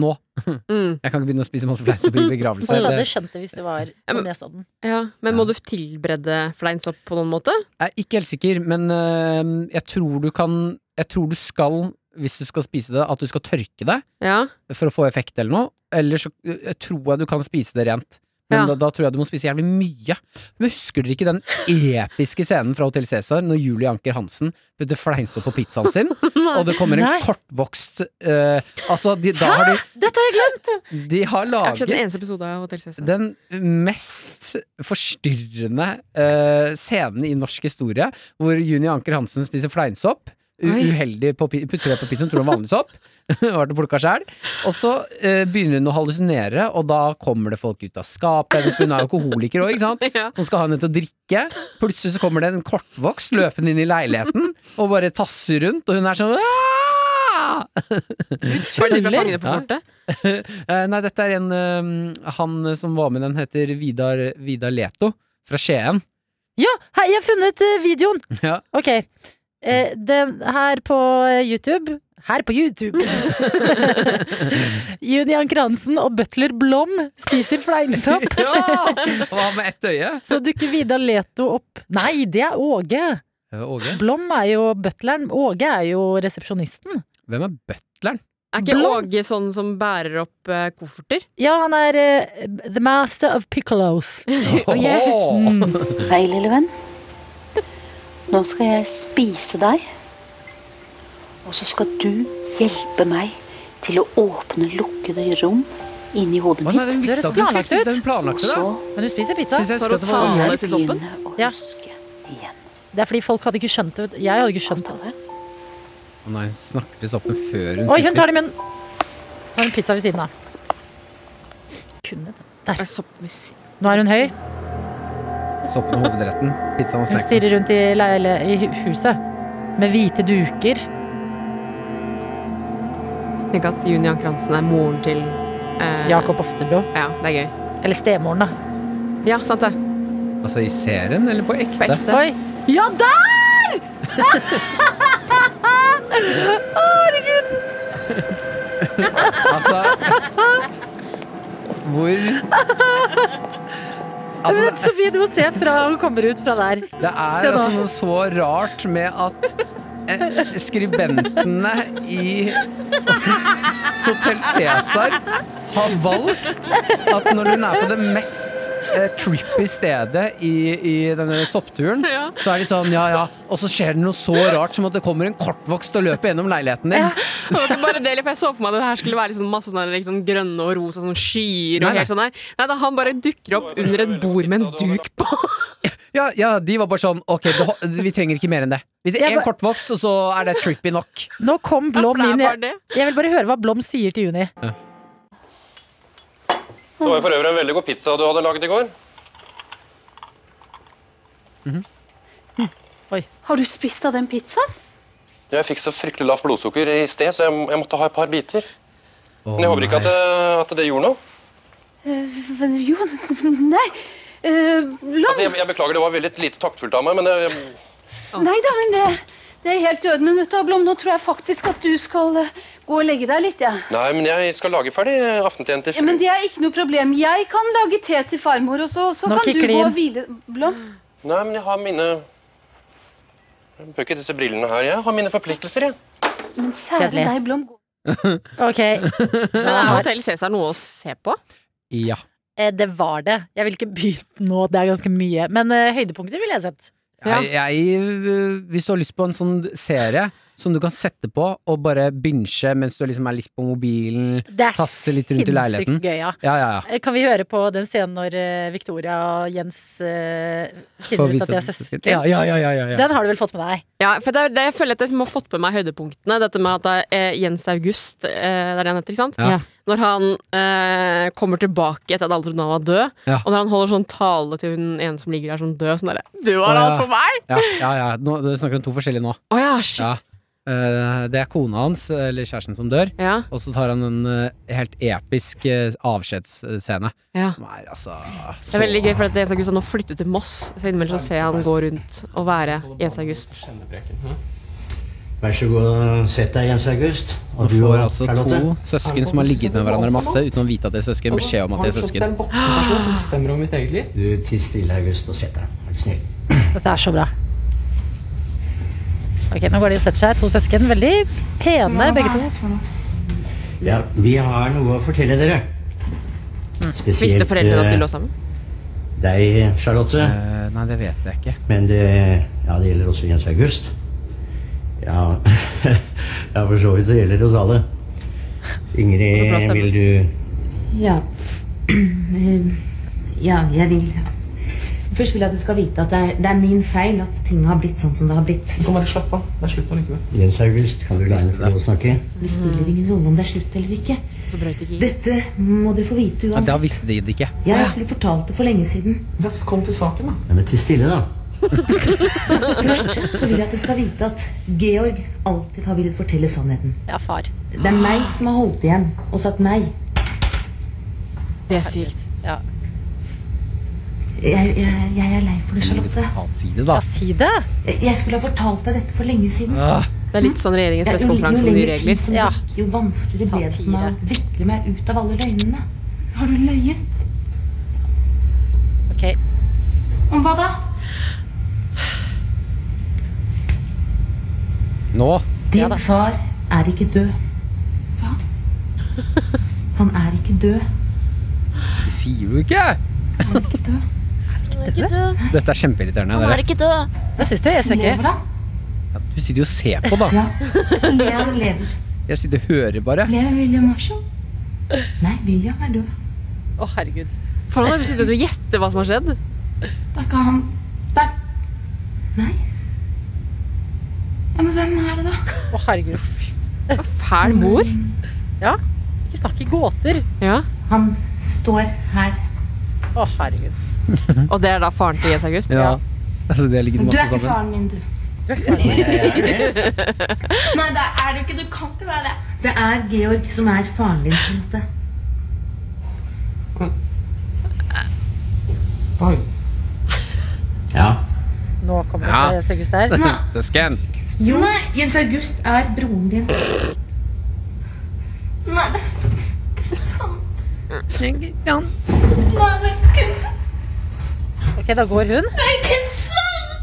[SPEAKER 3] nå.
[SPEAKER 7] Mm.
[SPEAKER 3] Jeg kan ikke begynne å spise masse fleinsopp i
[SPEAKER 2] Så
[SPEAKER 3] begravelse.
[SPEAKER 2] du hadde
[SPEAKER 3] Det
[SPEAKER 2] skjønt det hvis det var
[SPEAKER 7] Ja,
[SPEAKER 2] på
[SPEAKER 7] men-
[SPEAKER 2] Nesodden.
[SPEAKER 7] Ja, men må du tilberede fleinsopp på noen måte?
[SPEAKER 3] Jeg er ikke helt sikker, men eh, jeg tror du kan Jeg tror du skal, hvis du skal spise det, at du skal tørke det.
[SPEAKER 7] Ja.
[SPEAKER 3] for å få effekt eller noe. Eller så jeg tror jeg du kan spise det rent. Men
[SPEAKER 7] Ja.
[SPEAKER 3] da, da tror jeg du må spise jævlig mye. Men Husker dere ikke den episke scenen fra Hotell Cæsar når Julie Anker Hansen putter fleinsopp på pizzaen
[SPEAKER 7] <laughs>
[SPEAKER 3] sin, og det kommer en
[SPEAKER 2] Nei.
[SPEAKER 3] kortvokst eh, Altså, de, da har de,
[SPEAKER 2] Dette har jeg glemt!
[SPEAKER 3] de har
[SPEAKER 7] Jeg har ikke sett en
[SPEAKER 3] laget
[SPEAKER 7] eneste episode av Hotell Cæsar.
[SPEAKER 3] den mest forstyrrende eh, scenen i norsk historie, hvor Juni Anker Hansen spiser fleinsopp. u-
[SPEAKER 7] Oi.
[SPEAKER 3] Uheldig på, pi- putter det på pizzaen, tror hun er vanlig sopp. <laughs> Var det plukka selv. Og så eh, begynner hun å hallusinere, og da kommer det folk ut av skapet. Hennes hun er alkoholiker òg, ikke sant?
[SPEAKER 7] <laughs> Ja.
[SPEAKER 3] Som skal ha henne til å drikke. Plutselig så kommer det en kortvokst løpende inn i leiligheten og bare tasser rundt, og hun er sånn «Aah!»
[SPEAKER 7] Var det de fra
[SPEAKER 2] Tuller.
[SPEAKER 7] Fangene på
[SPEAKER 3] Ja.
[SPEAKER 7] fortet?
[SPEAKER 3] Eh, nei, dette er en eh, Han som var med den heter Vidar, Vidar Leto fra Skien.
[SPEAKER 2] Ja, hei, jeg har funnet eh, videoen!
[SPEAKER 3] Ja.
[SPEAKER 2] Ok. Eh, den her på eh, YouTube Her på
[SPEAKER 3] <laughs>
[SPEAKER 2] YouTube! Juni Anker Hansen og butler Blom spiser fleinsopp.
[SPEAKER 3] Og han med ett øye.
[SPEAKER 2] Så dukker Vidar Leto opp. Nei, det er Åge!
[SPEAKER 3] Eh, Åge.
[SPEAKER 2] Blom er jo butleren. Åge er jo resepsjonisten.
[SPEAKER 3] Hvem er butleren?
[SPEAKER 7] Er ikke
[SPEAKER 2] Blond.
[SPEAKER 7] Åge sånn som bærer opp eh, kofferter?
[SPEAKER 2] Ja, han er eh, the master of piccolos.
[SPEAKER 3] Åh!
[SPEAKER 2] Mm.
[SPEAKER 8] Hei, lille venn. Nå skal jeg spise deg. Og så skal du hjelpe meg til å åpne lukkede rom inni hodet
[SPEAKER 3] Å, nei,
[SPEAKER 8] mitt.
[SPEAKER 3] Hun visste at hun skulle spise det, hun
[SPEAKER 8] Og
[SPEAKER 3] planlagte det.
[SPEAKER 8] så
[SPEAKER 2] Men hun spiser pizza.
[SPEAKER 3] Synes jeg husker
[SPEAKER 7] Tar og
[SPEAKER 3] at det var
[SPEAKER 7] tar.
[SPEAKER 8] skal
[SPEAKER 7] Alle
[SPEAKER 8] jeg
[SPEAKER 7] til toppen?
[SPEAKER 8] begynne å
[SPEAKER 2] Ja.
[SPEAKER 8] huske igjen.
[SPEAKER 2] Det er fordi folk hadde ikke skjønt det. Jeg hadde ikke skjønt det.
[SPEAKER 8] Antale.
[SPEAKER 3] Å nei, hun snakket opp med før hun
[SPEAKER 2] Oi, hun
[SPEAKER 3] fikk det.
[SPEAKER 2] tar det i munnen. Tar en pizza ved siden av.
[SPEAKER 6] kunne det.
[SPEAKER 7] Er så- hvis-
[SPEAKER 2] Nå er hun høy.
[SPEAKER 3] Sopp med hovedretten, pizzaen
[SPEAKER 2] Hun
[SPEAKER 3] og snacksen.
[SPEAKER 2] stirrer rundt i, leile, i hu- huset med hvite duker.
[SPEAKER 7] Tenk at Junior Kransen er moren til eh,
[SPEAKER 2] Jakob Oftebro.
[SPEAKER 7] Ja, det er gøy.
[SPEAKER 2] Eller stemoren, da.
[SPEAKER 7] Ja, sant det.
[SPEAKER 3] Altså i serien, eller på
[SPEAKER 7] På
[SPEAKER 3] ekte?
[SPEAKER 7] ekte.
[SPEAKER 2] Oi! Ja, der! <laughs>
[SPEAKER 3] Altså Hvor Altså,
[SPEAKER 2] Men Sofie, du må se fra hun kommer ut fra der.
[SPEAKER 3] det er
[SPEAKER 2] Se nå.
[SPEAKER 3] altså noe så rart med at eh, skribentene i Hotell Cæsar har valgt at når hun er på det mest eh, trippy stedet i, i denne soppturen,
[SPEAKER 7] Ja.
[SPEAKER 3] så er de sånn ja ja, og så skjer det noe så rart som at det kommer en kortvokst og løper gjennom leiligheten din.
[SPEAKER 7] <laughs> Det var ikke bare det, for Jeg så for meg at det her skulle være sånn masse sånne, liksom, grønne og rosa sånn skyer.
[SPEAKER 3] Nei,
[SPEAKER 7] og
[SPEAKER 3] nei.
[SPEAKER 7] helt sånn der. Nei, da Han bare dukker opp under et bord med en duk på.
[SPEAKER 3] Ja, ja, de var bare sånn Ok, beho- vi trenger ikke mer enn det. Vi
[SPEAKER 2] Jeg
[SPEAKER 3] trenger én
[SPEAKER 2] ba-
[SPEAKER 3] kortvokst, og så er det trippy nok.
[SPEAKER 2] Nå kom
[SPEAKER 7] For
[SPEAKER 2] Blom
[SPEAKER 7] det er
[SPEAKER 2] inn.
[SPEAKER 7] bare
[SPEAKER 2] Jeg,
[SPEAKER 7] det.
[SPEAKER 2] jeg vil bare høre hva Blom sier til Juni.
[SPEAKER 9] Det var jo for øvrig en veldig god pizza du hadde laget i går.
[SPEAKER 8] Har du spist av den pizzaen?
[SPEAKER 9] Jeg fikk så fryktelig lavt blodsukker i sted, så jeg, jeg måtte ha et par biter. Men jeg håper ikke at det, at det gjorde noe.
[SPEAKER 8] Men Jo, nei. Eh, la
[SPEAKER 9] Altså, jeg, jeg beklager, det var veldig lite taktfullt av meg, men jeg, jeg,
[SPEAKER 8] Nei da, men det, det er helt død. Men vet du, hva, Blom, nå tror jeg faktisk at du skal eh, gå og legge deg litt, jeg. Ja.
[SPEAKER 9] nei, men jeg skal lage ferdig aftentiden til
[SPEAKER 8] Ja, men
[SPEAKER 9] fru.
[SPEAKER 8] det er ikke noe problem. Jeg kan lage te til farmor, og så, så
[SPEAKER 2] Nå
[SPEAKER 8] kan du
[SPEAKER 2] kikker de
[SPEAKER 8] gå
[SPEAKER 2] inn.
[SPEAKER 8] og hvile. Blom?
[SPEAKER 9] Nei, men jeg har mine Jeg bruker ikke disse brillene her. Jeg har mine forpliktelser, jeg.
[SPEAKER 8] Men kjære
[SPEAKER 2] Kjedelig.
[SPEAKER 8] deg, Blom. gå.
[SPEAKER 2] <laughs> Ok,
[SPEAKER 7] <laughs> Men er Hotell Cæsar noe å se på?
[SPEAKER 3] Ja.
[SPEAKER 2] eh, det var det. Jeg vil ikke begynne nå, det er ganske mye. Men eh, høydepunkter ville jeg sett.
[SPEAKER 3] Jeg, jeg, øh, hvis du har lyst på en sånn serie som du kan sette på og bare binche mens du liksom er litt på mobilen
[SPEAKER 2] Det er
[SPEAKER 3] Tasse litt rundt i leiligheten.
[SPEAKER 2] sinnssykt gøy, ja.
[SPEAKER 3] Ja, ja, ja.
[SPEAKER 2] Eh, Kan vi høre på den scenen når eh, Victoria og Jens eh,
[SPEAKER 3] Få
[SPEAKER 2] finner ut
[SPEAKER 3] vite
[SPEAKER 2] at de er
[SPEAKER 3] det.
[SPEAKER 2] søsken?
[SPEAKER 3] Ja, ja, ja, ja, ja, ja.
[SPEAKER 2] Den har du vel fått med deg?
[SPEAKER 7] Ja, for det, er- det, Jeg føler at jeg må ha fått med meg høydepunktene. Dette med at det er eh, Jens August eh, det er det han heter, ikke sant?
[SPEAKER 3] Ja.
[SPEAKER 7] Når han eh, kommer tilbake etter at alle trodde han var død,
[SPEAKER 3] Ja.
[SPEAKER 7] og når han holder sånn tale til hun ene som ligger der som død sånn derre 'Du var
[SPEAKER 3] Å, ja.
[SPEAKER 7] alt for meg!'
[SPEAKER 3] ja, ja, ja. Nå, du snakker om to forskjellige nå.
[SPEAKER 7] Å ja, shit.
[SPEAKER 3] Ja. Eh, Det er kona hans, eller kjæresten, som dør.
[SPEAKER 7] Ja.
[SPEAKER 3] Og så tar han en eh, helt episk eh, avskjedsscene.
[SPEAKER 7] ja.
[SPEAKER 3] Som er altså
[SPEAKER 7] Det er veldig gøy, for at Jens August har nå flyttet til Moss, så innimellom så ser jeg han gå rundt og være Jens August.
[SPEAKER 10] Vær så god og sett deg, Jens August.
[SPEAKER 3] Man
[SPEAKER 10] du
[SPEAKER 3] får
[SPEAKER 10] og
[SPEAKER 3] altså to søsken som har ligget med hverandre masse uten å vite at de er søsken, beskjed om at de er søsken.
[SPEAKER 10] voksenperson som bestemmer om mitt eget liv. Du tiss stille, August, og sett deg. Er du snill.
[SPEAKER 2] Dette er så bra. Ok, Nå går de og setter seg. To søsken. Veldig pene, begge to.
[SPEAKER 10] Ja, vi har noe å fortelle dere. Spesielt
[SPEAKER 7] Visste foreldrene at
[SPEAKER 10] eh,
[SPEAKER 7] de lå sammen?
[SPEAKER 10] deg, Charlotte.
[SPEAKER 3] Eh, Nei, det vet jeg ikke.
[SPEAKER 10] Men det, ja, det gjelder også Jens August. Ja, <laughs> ja for så vidt det gjelder oss alle.
[SPEAKER 7] Og så bra
[SPEAKER 10] Ingrid,
[SPEAKER 7] stemme.
[SPEAKER 10] vil du
[SPEAKER 11] Ja. <clears throat> Eh, ja, jeg vil Først vil jeg at du skal vite at det er, det er min feil at ting har blitt sånn som det har blitt.
[SPEAKER 10] Jens August, kan du la henne få lov å snakke?
[SPEAKER 11] Det spiller ingen rolle om det er slutt eller ikke.
[SPEAKER 7] Så brøt ikke i.
[SPEAKER 11] Dette må du få vite
[SPEAKER 3] Ja, da
[SPEAKER 11] uansett.
[SPEAKER 3] visste de det ikke.
[SPEAKER 11] Jeg skulle fortalt det for lenge siden.
[SPEAKER 10] Nei, men til stille, da.
[SPEAKER 11] Først så vil jeg at du skal vite at Georg alltid har villet fortelle sannheten.
[SPEAKER 2] Ja, far.
[SPEAKER 11] Det er meg som har holdt igjen og sagt nei.
[SPEAKER 7] Det er sykt.
[SPEAKER 2] Ja,
[SPEAKER 11] Jeg, jeg, jeg er lei for det, Charlotte.
[SPEAKER 3] Faen, si det, da.
[SPEAKER 2] ja si det!
[SPEAKER 11] Jeg skulle ha fortalt deg dette for lenge siden.
[SPEAKER 3] Ah,
[SPEAKER 7] Det er litt sånn regjeringens
[SPEAKER 11] Det er jo-
[SPEAKER 7] pressekonferanse om nye regler.
[SPEAKER 11] Jo lenger tid som
[SPEAKER 2] Ja.
[SPEAKER 11] gikk, jo vanskeligere ble det for meg å vikle meg ut av alle løgnene. Har du løyet?
[SPEAKER 2] Ok,
[SPEAKER 11] Om hva da?
[SPEAKER 3] Nå?
[SPEAKER 11] Din
[SPEAKER 2] Ja da.
[SPEAKER 11] far er ikke død. Hva? Han er ikke død.
[SPEAKER 3] De sier jo ikke!
[SPEAKER 11] Ikke død.
[SPEAKER 3] Dette er kjempeirriterende. Dere.
[SPEAKER 2] Hva syns du? Jeg ser
[SPEAKER 11] Lever
[SPEAKER 2] ikke.
[SPEAKER 11] han?
[SPEAKER 3] Du sitter jo og ser på, da.
[SPEAKER 11] Ja. Le- Han lever.
[SPEAKER 3] Jeg sitter og hører bare.
[SPEAKER 11] Lever William Marshall? Nei, William er død.
[SPEAKER 2] Å, herregud.
[SPEAKER 7] For han har sittet og gjettet hva som har skjedd.
[SPEAKER 11] Da kan han Der. Nei. Ja, men hvem er det, da?
[SPEAKER 2] Å, herregud.
[SPEAKER 11] Mm.
[SPEAKER 7] Fæl mor.
[SPEAKER 2] Ikke snakk i gåter.
[SPEAKER 7] Ja.
[SPEAKER 11] Han står her.
[SPEAKER 7] Å, herregud. Og det er da faren til Jens August?
[SPEAKER 3] Ja. Altså, det ligger
[SPEAKER 11] Du er
[SPEAKER 3] masse
[SPEAKER 11] ikke
[SPEAKER 3] sammen.
[SPEAKER 11] faren min, du. Nei, det er du ikke. Du kan ikke være det. Det er Georg som er faren din, på en måte.
[SPEAKER 10] Ja.
[SPEAKER 2] Nå kommer det
[SPEAKER 3] Ja.
[SPEAKER 2] fra Jens August der.
[SPEAKER 3] <laughs> Søsken.
[SPEAKER 11] Jo, Nei, Jens August er broren din. Nei, det er ikke sant.
[SPEAKER 3] Nei, det
[SPEAKER 11] er ikke sant.
[SPEAKER 2] Ok, da går hun.
[SPEAKER 11] Det er ikke sånn!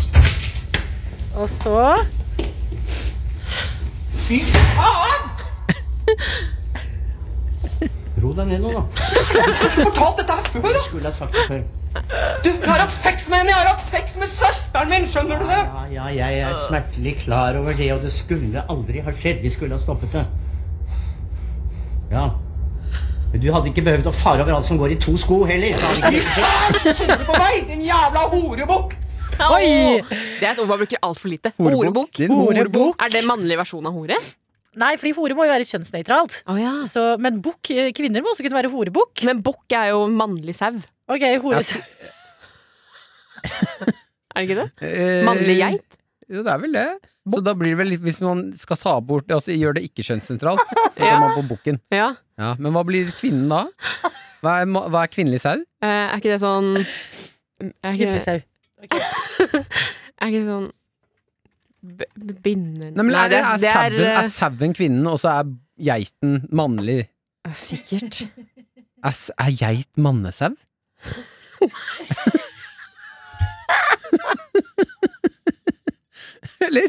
[SPEAKER 11] sant!
[SPEAKER 2] Og så
[SPEAKER 11] Fy faen!
[SPEAKER 10] Ro deg ned nå, da.
[SPEAKER 12] fortalt dette her før, da!
[SPEAKER 10] Skulle ha sagt det før.
[SPEAKER 12] Du, jeg har hatt sex med henne! Jeg har hatt sex med søsteren min! Skjønner du det?
[SPEAKER 10] Ja, ja, jeg er smertelig klar over det, og det skulle aldri ha skjedd. Vi skulle ha stoppet det. Ja. Men du hadde ikke behøvd å fare over alt som går i to sko heller. så hadde ikke-
[SPEAKER 12] Skjønner du på meg, din jævla horebukk!
[SPEAKER 2] Oi!
[SPEAKER 7] Det er et ord man bruker altfor lite.
[SPEAKER 2] Horebukk.
[SPEAKER 7] Horebukk.
[SPEAKER 2] Din horebukk.
[SPEAKER 7] Er det mannlig versjon av hore?
[SPEAKER 2] Nei, fordi hore må jo være kjønnsnøytralt. Så- Men bukk, eh, kvinner må også kunne være horebukk.
[SPEAKER 7] Men bukk er jo mannlig sau.
[SPEAKER 2] Ok, hore...
[SPEAKER 7] Er det ikke det?
[SPEAKER 3] Eh,
[SPEAKER 7] Mannlig geit?
[SPEAKER 3] Jo, det er vel det. Så da blir det vel litt Hvis man skal ta bort det, altså gjør det ikke kjønnssentralt, så
[SPEAKER 7] Ja.
[SPEAKER 3] kommer man på bukken.
[SPEAKER 7] Ja.
[SPEAKER 3] Ja, men hva blir kvinnen da? Hva er, ma- hva er kvinnelig sau?
[SPEAKER 7] Eh, er ikke det sånn er ikke,
[SPEAKER 3] Kvinnelig sau.
[SPEAKER 7] er ikke det sånn b- b- Binder
[SPEAKER 3] Nei, men er, det, er, sauen,
[SPEAKER 7] eh,
[SPEAKER 3] er sauen kvinnen, og så er geiten mannlig?
[SPEAKER 7] Sikkert.
[SPEAKER 3] Er, s- er geit mannesau? <laughs> Eller?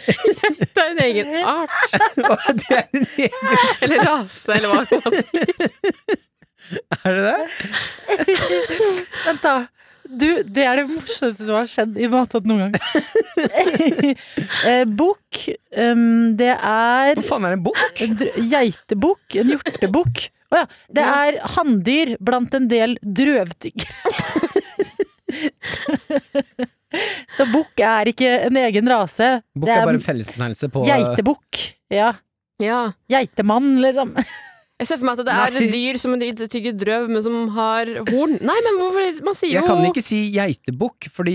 [SPEAKER 7] Det er en egen art.
[SPEAKER 3] det er en egen
[SPEAKER 7] Eller rase, eller hva man <laughs> sier.
[SPEAKER 3] Er det det?
[SPEAKER 2] Vent, da. Du, det er det morsomste som har skjedd i Mathatt noen gang. <laughs> eh, bukk um, Det er Hva
[SPEAKER 3] faen er en bukk?
[SPEAKER 2] En dr- geitebukk. En hjortebukk. Å ja. Det er hanndyr blant en del drøvtyggere. <laughs> Så bukk er ikke en egen rase.
[SPEAKER 3] Bukk
[SPEAKER 2] Det
[SPEAKER 3] er bare en fellesbetegnelse på
[SPEAKER 2] Geitebukk. Ja. Geitemann, liksom.
[SPEAKER 7] Jeg ser for meg at det er
[SPEAKER 3] Nei.
[SPEAKER 7] dyr som en dyr tygger drøv, men som har horn. Nei, men hvorfor Man sier jo
[SPEAKER 3] Jeg kan ikke si geitebukk, fordi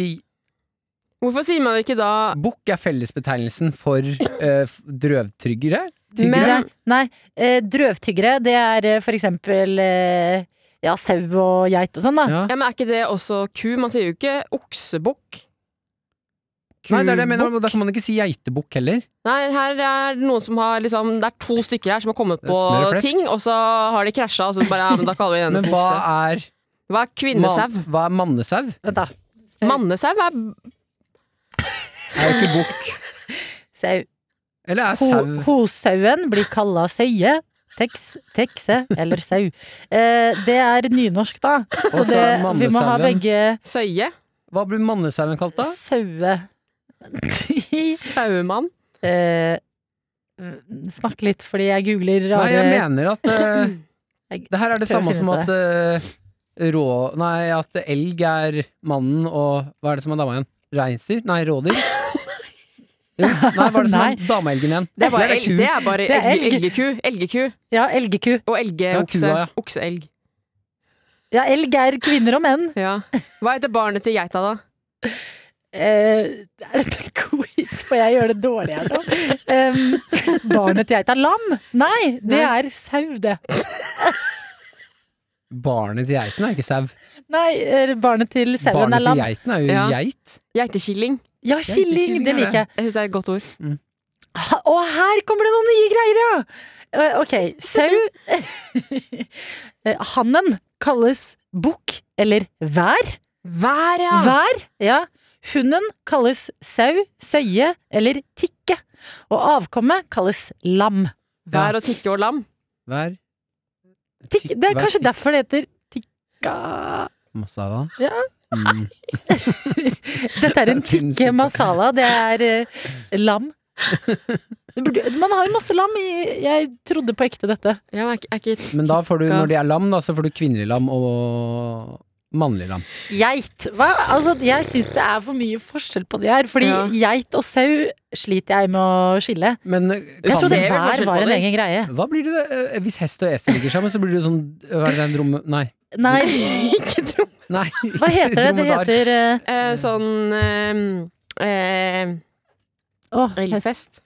[SPEAKER 7] Hvorfor sier man ikke da
[SPEAKER 3] bukk er fellesbetegnelsen for eh, f- drøvtryggere. Tyggere.
[SPEAKER 2] Men, nei, eh, drøvtyggere, det er eh, for eksempel eh, ja, sau og geit og sånn, da.
[SPEAKER 7] ja. men Er ikke det også ku? Man sier jo ikke oksebukk.
[SPEAKER 3] Nei, det er det jeg mener, og da kan man ikke si geitebukk heller.
[SPEAKER 7] Nei, her er det noen som har liksom Det er to stykker her som har kommet
[SPEAKER 3] Det
[SPEAKER 7] på
[SPEAKER 3] smeller flesk.
[SPEAKER 7] ting, og så har de krasja, og så bare Ja, men da kaller vi den
[SPEAKER 3] Men hva er
[SPEAKER 7] Hva er kvinnesau?
[SPEAKER 3] Man, hva er mannesau?
[SPEAKER 2] Vent, da.
[SPEAKER 7] Mannesau er
[SPEAKER 3] Er jo ikke bukk.
[SPEAKER 2] Sau.
[SPEAKER 3] Eller er
[SPEAKER 2] Ho-
[SPEAKER 3] sau
[SPEAKER 2] Hosauen blir kalla søye. Teks, tekse eller sau. Eh, det er nynorsk, da. Så
[SPEAKER 3] Og så
[SPEAKER 2] det,
[SPEAKER 3] er
[SPEAKER 2] vi må ha
[SPEAKER 3] mannesauen.
[SPEAKER 2] begge
[SPEAKER 7] Søye?
[SPEAKER 3] Hva blir mannesauen kalt, da?
[SPEAKER 2] Saue. <laughs>
[SPEAKER 7] Sauemann?
[SPEAKER 2] Eh, snakk litt, fordi jeg googler rare
[SPEAKER 3] Nei, jeg mener at
[SPEAKER 2] <clears throat>
[SPEAKER 3] eh, Det her er
[SPEAKER 2] prøver
[SPEAKER 3] det
[SPEAKER 2] å
[SPEAKER 3] samme
[SPEAKER 2] finne
[SPEAKER 3] som
[SPEAKER 2] ut av
[SPEAKER 3] at eh, rå... Nei, at elg er mannen, og hva er det som er dama igjen? Reinsdyr? Nei,
[SPEAKER 2] <laughs>
[SPEAKER 3] rådyr? Jo, nei, hva er det som er dameelgen igjen?
[SPEAKER 7] Det er bare,
[SPEAKER 3] Nei,
[SPEAKER 7] elg, det er bare
[SPEAKER 2] Det er
[SPEAKER 7] elg-
[SPEAKER 2] elg.
[SPEAKER 7] elgeku. Elgeku.
[SPEAKER 2] Ja, elgeku.
[SPEAKER 7] Og elgeokse.
[SPEAKER 3] kua, ja.
[SPEAKER 7] Okseelg.
[SPEAKER 2] Ja, elg er kvinner og menn.
[SPEAKER 7] Ja. Hva heter barnet til geita, da?
[SPEAKER 2] Eh, er dette en quiz, for jeg gjør det dårlig her nå? Um, barnet til geita. Lam! Nei, det
[SPEAKER 3] Nei.
[SPEAKER 2] er sau, det.
[SPEAKER 3] Barnet til geiten er ikke sau.
[SPEAKER 2] Nei, eh, barnet til sauen
[SPEAKER 3] Barnet
[SPEAKER 2] er
[SPEAKER 3] til
[SPEAKER 2] lam.
[SPEAKER 3] geiten er jo
[SPEAKER 2] Ja.
[SPEAKER 3] geit.
[SPEAKER 7] Geitekilling.
[SPEAKER 2] Ja, killing, det liker jeg.
[SPEAKER 7] Jeg syns det er et godt ord.
[SPEAKER 2] Ha- Og her kommer det noen nye greier, ja! Eh, Ok, sau <laughs> Eh, Hannen kalles bukk eller vær.
[SPEAKER 7] Vær, ja.
[SPEAKER 2] Vær, ja. Hunden kalles sau, søye eller tikke. Og avkommet kalles lam.
[SPEAKER 7] Vær og tikke og lam.
[SPEAKER 3] Vær
[SPEAKER 2] Tikk, det er
[SPEAKER 3] vær
[SPEAKER 2] kanskje
[SPEAKER 3] tikk.
[SPEAKER 2] derfor det heter tikka
[SPEAKER 3] masse av han.
[SPEAKER 2] Ja.
[SPEAKER 3] Mm.
[SPEAKER 2] Dette er en tikke masala. Det er eh, lam. Det burde- Man har jo masse lam. i- Jeg trodde på ekte dette.
[SPEAKER 7] Ja, men er ikke- er ikke
[SPEAKER 3] Men da får du,
[SPEAKER 7] tikka-
[SPEAKER 3] når de er lam, da, så får du kvinnelig lam og Mannlig lam.
[SPEAKER 2] Geit. Hva? Altså, jeg syns det er for mye forskjell på de her. Fordi geit og sau sliter jeg med å skille.
[SPEAKER 3] Men eh,
[SPEAKER 2] jeg trodde hver var en egen greie.
[SPEAKER 3] Hva blir det eh, hvis hest og esel ligger sammen, så blir det sånn Hva er det den dromme... Nei.
[SPEAKER 2] Nei,
[SPEAKER 3] Nei.
[SPEAKER 2] hva heter <laughs> det? Det
[SPEAKER 3] Dromedar.
[SPEAKER 2] heter
[SPEAKER 7] Eh, sånn eh, eh, Elfest.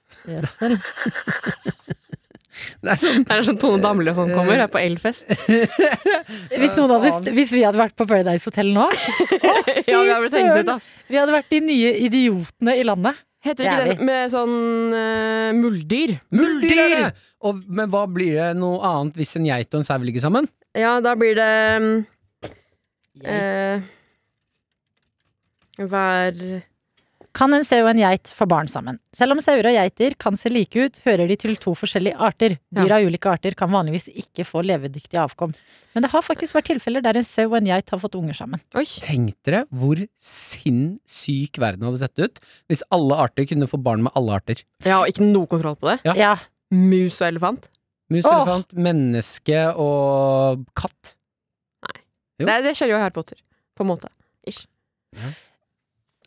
[SPEAKER 3] Det er sånn,
[SPEAKER 7] Tone Damli og sånn kommer, er på elfest.
[SPEAKER 2] Hvis, noen hadde, hvis vi hadde vært på Paradise Hotel nå
[SPEAKER 7] Ja, vi har blitt hengt ut, ass.
[SPEAKER 2] Vi hadde vært de nye idiotene i landet.
[SPEAKER 7] Heter ikke det med sånn eh, muldyr?
[SPEAKER 3] Muldyr er det! Og, men hva blir det noe annet hvis en geit og en sau ligger sammen?
[SPEAKER 7] Ja, da blir det mm, eh, Hver
[SPEAKER 2] Kan en sau og en geit få barn sammen? Selv om sauer og geiter kan se like ut, hører de til to forskjellige arter. Dyr
[SPEAKER 7] Ja.
[SPEAKER 2] av ulike arter kan vanligvis ikke få levedyktig avkom. Men det har faktisk vært tilfeller der en sau og en geit har fått unger sammen.
[SPEAKER 3] Tenk dere hvor sinnssyk verden hadde sett ut hvis alle arter kunne få barn med alle arter.
[SPEAKER 7] Ja, og ikke noe kontroll på det?
[SPEAKER 3] Ja.
[SPEAKER 7] Mus og elefant?
[SPEAKER 3] Mus,
[SPEAKER 7] Åh.
[SPEAKER 3] elefant, menneske og katt. Jo.
[SPEAKER 7] Det, det skjer jo i Harry Potter, på en måte. Ish.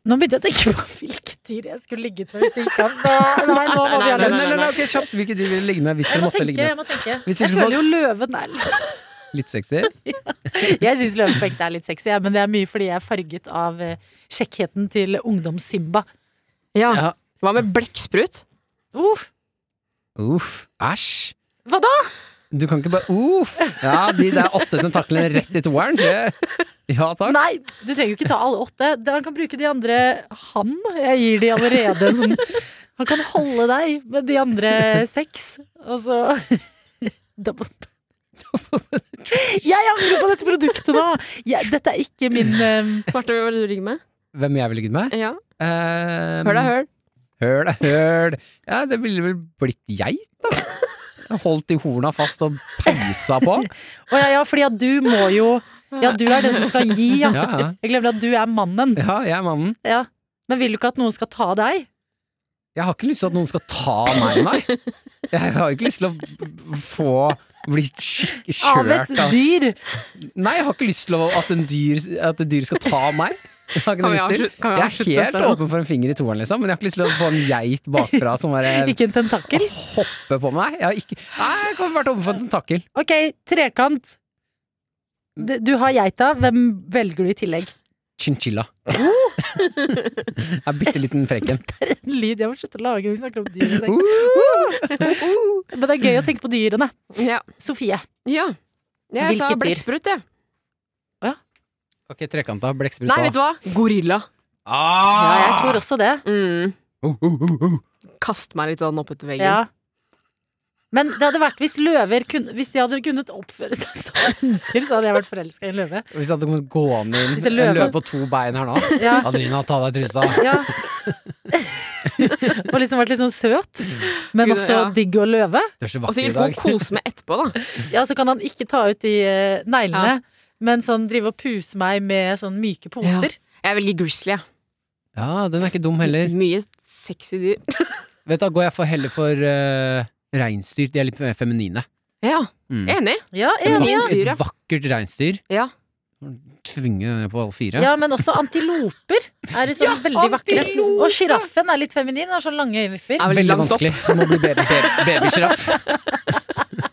[SPEAKER 2] Nå begynte jeg å tenke på hvilke dyr jeg skulle ligget med hvis det gikk an. Nå- Nei, nå må vi ha
[SPEAKER 3] Nei, nei,
[SPEAKER 2] lunsj.
[SPEAKER 3] nei, nei, ok, kjapt. Hvilke dyr ville ligge med hvis
[SPEAKER 2] Jeg
[SPEAKER 3] dere
[SPEAKER 2] må
[SPEAKER 3] måtte
[SPEAKER 2] tenke,
[SPEAKER 3] ligge
[SPEAKER 2] jeg må
[SPEAKER 3] med?
[SPEAKER 2] tenke.
[SPEAKER 3] Hvis du
[SPEAKER 2] Jeg
[SPEAKER 3] skulle
[SPEAKER 2] føler jo løven er litt
[SPEAKER 3] Litt sexy?
[SPEAKER 2] Jeg syns løven på ekte er litt sexy, ja, men det er mye fordi jeg er farget av eh, kjekkheten til ungdoms-Simba.
[SPEAKER 7] Ja. Hva med blekksprut?
[SPEAKER 2] Uff.
[SPEAKER 3] Uff. Æsj.
[SPEAKER 2] Hva da?
[SPEAKER 3] Du kan ikke bare uff. Ja, de der åtte tentaklene rett i toeren. det- Ja takk.
[SPEAKER 2] Nei, du trenger jo ikke ta alle åtte. Det- Han kan bruke de andre Han, jeg gir de allerede en sånn Han kan holde deg med de andre seks, og så Double Jeg angrer på dette produktet nå! Jeg, dette er ikke min ehm,
[SPEAKER 7] Marte, hva er det du ligger med?
[SPEAKER 3] Hvem jeg ville ligget med?
[SPEAKER 7] Ja.
[SPEAKER 3] Um,
[SPEAKER 7] Hør da, hør.
[SPEAKER 3] Høl er høl. Ja, det ville vel blitt geit, da. Holdt i horna fast og peisa på.
[SPEAKER 2] Å ja, ja, fordi at du må jo Ja, du er den som skal gi, ja.
[SPEAKER 3] Ja, ja.
[SPEAKER 2] Jeg glemte at du er mannen.
[SPEAKER 3] Ja, jeg er mannen.
[SPEAKER 2] Ja. Men vil du ikke at noen skal ta deg?
[SPEAKER 3] Jeg har ikke lyst til at noen skal ta meg, nei. Jeg har ikke lyst til å b- få bli skik-
[SPEAKER 2] Av
[SPEAKER 3] kjørt
[SPEAKER 2] et dyr?
[SPEAKER 3] Nei, jeg har ikke lyst til å- at, en dyr, at et dyr skal ta meg. Jeg har ikke
[SPEAKER 2] Kan
[SPEAKER 3] noe
[SPEAKER 2] vi
[SPEAKER 3] lyst til.
[SPEAKER 2] avslut- kan vi
[SPEAKER 3] Jeg
[SPEAKER 2] avslutte
[SPEAKER 3] er helt
[SPEAKER 2] dette nå?
[SPEAKER 3] åpen for en finger i toeren, liksom, men jeg har ikke lyst til å få en geit bakfra som bare
[SPEAKER 2] <laughs> Ikke en tentakel?
[SPEAKER 3] hopper på meg. Jeg har ikke Nei, jeg har vært åpen for en tentakel.
[SPEAKER 2] Ok, trekant. Du, du har geita. Hvem velger du i tillegg? <laughs>
[SPEAKER 3] Chinchilla. Jeg er bitte liten frekken.
[SPEAKER 2] En lyd jeg må slutte å lage når vi snakker om dyr. i seng. Uh. Men det er gøy å tenke på dyrene. Sofie.
[SPEAKER 7] Jeg sa
[SPEAKER 2] Hvilket dyr?
[SPEAKER 7] blekksprut, jeg.
[SPEAKER 3] Ok, trekanta, blekksprut Ah!
[SPEAKER 7] Nei, vet du hva? Gorilla.
[SPEAKER 2] Ja,
[SPEAKER 7] Ah.
[SPEAKER 2] jeg tror også det.
[SPEAKER 7] Mm.
[SPEAKER 3] Oh, oh, oh, oh.
[SPEAKER 7] Kaste meg litt sånn oppetter veggen.
[SPEAKER 2] Ja. Men det hadde vært hvis løver kunne, Hvis de hadde kunnet oppføre seg som <laughs> mennesker, så hadde jeg vært forelska i en løve.
[SPEAKER 3] Hvis jeg hadde kommet gående inn
[SPEAKER 2] Hvis en
[SPEAKER 3] en
[SPEAKER 2] løve-
[SPEAKER 3] løve på to bein her nå
[SPEAKER 2] <laughs> Ja.
[SPEAKER 3] Adelina, ta deg trusa.
[SPEAKER 2] <laughs> Ja. Og liksom vært litt sånn søt, men
[SPEAKER 7] Skulle-
[SPEAKER 2] også
[SPEAKER 7] ja.
[SPEAKER 2] digg og løve.
[SPEAKER 3] Du er så
[SPEAKER 7] Og
[SPEAKER 3] vakker i
[SPEAKER 7] sikkert
[SPEAKER 3] dag.
[SPEAKER 7] god kose med etterpå, da.
[SPEAKER 2] Ja, så kan han ikke ta ut de eh, neglene, men sånn drive og puse meg med sånn myke punkter.
[SPEAKER 7] Jeg velger grizzly, jeg.
[SPEAKER 3] <laughs> Ja, den er ikke dum heller.
[SPEAKER 7] Mye sexy dyr.
[SPEAKER 3] Vet du, Da går jeg for heller for uh, reinsdyr. De er litt mer feminine.
[SPEAKER 7] Ja,
[SPEAKER 3] Mm.
[SPEAKER 7] enig.
[SPEAKER 2] Ja,
[SPEAKER 3] Et
[SPEAKER 2] enig.
[SPEAKER 3] vak-
[SPEAKER 2] Ja.
[SPEAKER 3] Et vakkert reinsdyr.
[SPEAKER 7] Ja.
[SPEAKER 3] Tvinge den ned på alle fire.
[SPEAKER 2] Ja, men også antiloper er liksom veldig vakre. Og sjiraffen er litt feminin, har sånn lange øyenvipper.
[SPEAKER 3] Veldig vanskelig. Det må bli ba- ba- babysjiraff. <laughs>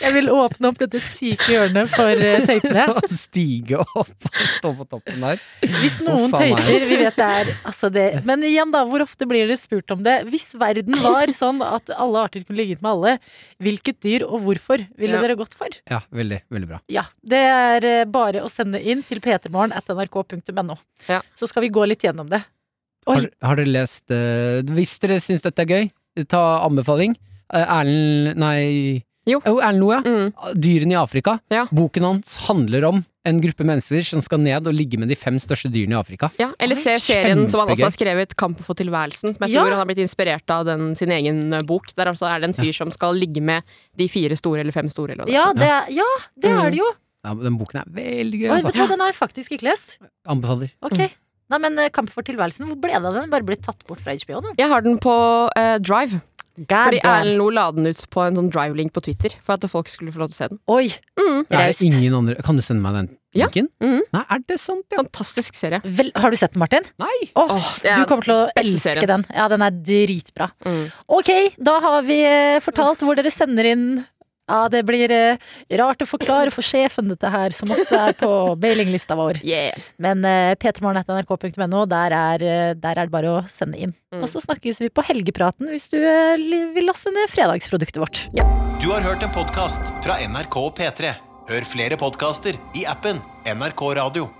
[SPEAKER 2] Jeg vil åpne opp dette syke hjørnet for eh, tøytene.
[SPEAKER 3] Og Stige opp og stå på toppen der.
[SPEAKER 2] <laughs> Hvis noen tøyter, vi vet det er altså det. Men igjen, da, hvor ofte blir det spurt om det? Hvis verden var sånn at alle arter kunne ligget med alle, hvilket dyr og hvorfor ville
[SPEAKER 3] Ja.
[SPEAKER 2] dere gått for?
[SPEAKER 3] Ja, veldig, veldig bra.
[SPEAKER 2] Ja, det er eh, bare å sende inn til p3morgen.nrk.no. Så skal vi gå litt gjennom det.
[SPEAKER 3] Har, har dere lest eh, Hvis dere syns dette er gøy, ta anbefaling. Eh, Erlend Nei.
[SPEAKER 7] Jo.
[SPEAKER 3] Erlend Loe, ja.
[SPEAKER 7] Mm.
[SPEAKER 3] Dyrene i Afrika. Boken hans handler om en gruppe mennesker som skal ned og ligge med de fem største dyrene i Afrika.
[SPEAKER 7] Ja, eller se serien som han også har skrevet, 'Kampen for tilværelsen', som jeg
[SPEAKER 3] Ja.
[SPEAKER 7] tror han har blitt inspirert av den, sin egen eh, bok. Der altså er det en fyr som skal ligge med de fire store eller fem store. Eller hva det er.
[SPEAKER 2] Ja, det er, ja, det, er det jo!
[SPEAKER 3] Ja, men den boken er veldig gøy,
[SPEAKER 2] Oi, vet du hva,
[SPEAKER 3] altså.
[SPEAKER 2] den har jeg faktisk ikke lest.
[SPEAKER 3] Anbefaler.
[SPEAKER 2] Ok.
[SPEAKER 7] Mm.
[SPEAKER 2] Nei, men eh, Kamp for tilværelsen, hvor ble det av den? Bare ble tatt bort fra HBO, den?
[SPEAKER 7] Jeg har den på eh, Drive. Fordi
[SPEAKER 2] damn.
[SPEAKER 7] Erlend Lo la den ut på en sånn drive-link på Twitter for at folk skulle få lov til å se den.
[SPEAKER 2] Oi!
[SPEAKER 7] Mm.
[SPEAKER 3] Det er ingen andre Kan du sende meg den
[SPEAKER 7] Ja.
[SPEAKER 3] linken?
[SPEAKER 7] Mhm.
[SPEAKER 3] Nei, er det sant?
[SPEAKER 7] Fantastisk serie.
[SPEAKER 2] Vel, har du sett den, Martin?
[SPEAKER 3] Nei!
[SPEAKER 7] ja,
[SPEAKER 2] du kommer til å
[SPEAKER 7] beste
[SPEAKER 2] elske
[SPEAKER 7] serien.
[SPEAKER 2] den. Ja, den er dritbra.
[SPEAKER 7] Mm.
[SPEAKER 2] Ok, da har vi eh, fortalt hvor dere sender inn Ja, det blir eh, rart å forklare for sjefen dette her, som også er på
[SPEAKER 7] <laughs>
[SPEAKER 2] mailinglista vår. Men eh, ptmorgen.nrk.no, der, er, eh, der er det bare å sende inn.
[SPEAKER 7] Mm.
[SPEAKER 2] Og så snakkes vi på helgepraten hvis du eh, li- vil laste ned fredagsproduktet vårt.
[SPEAKER 1] Du har hørt en podkast fra NRK P3. Hør flere podkaster i appen NRK Radio.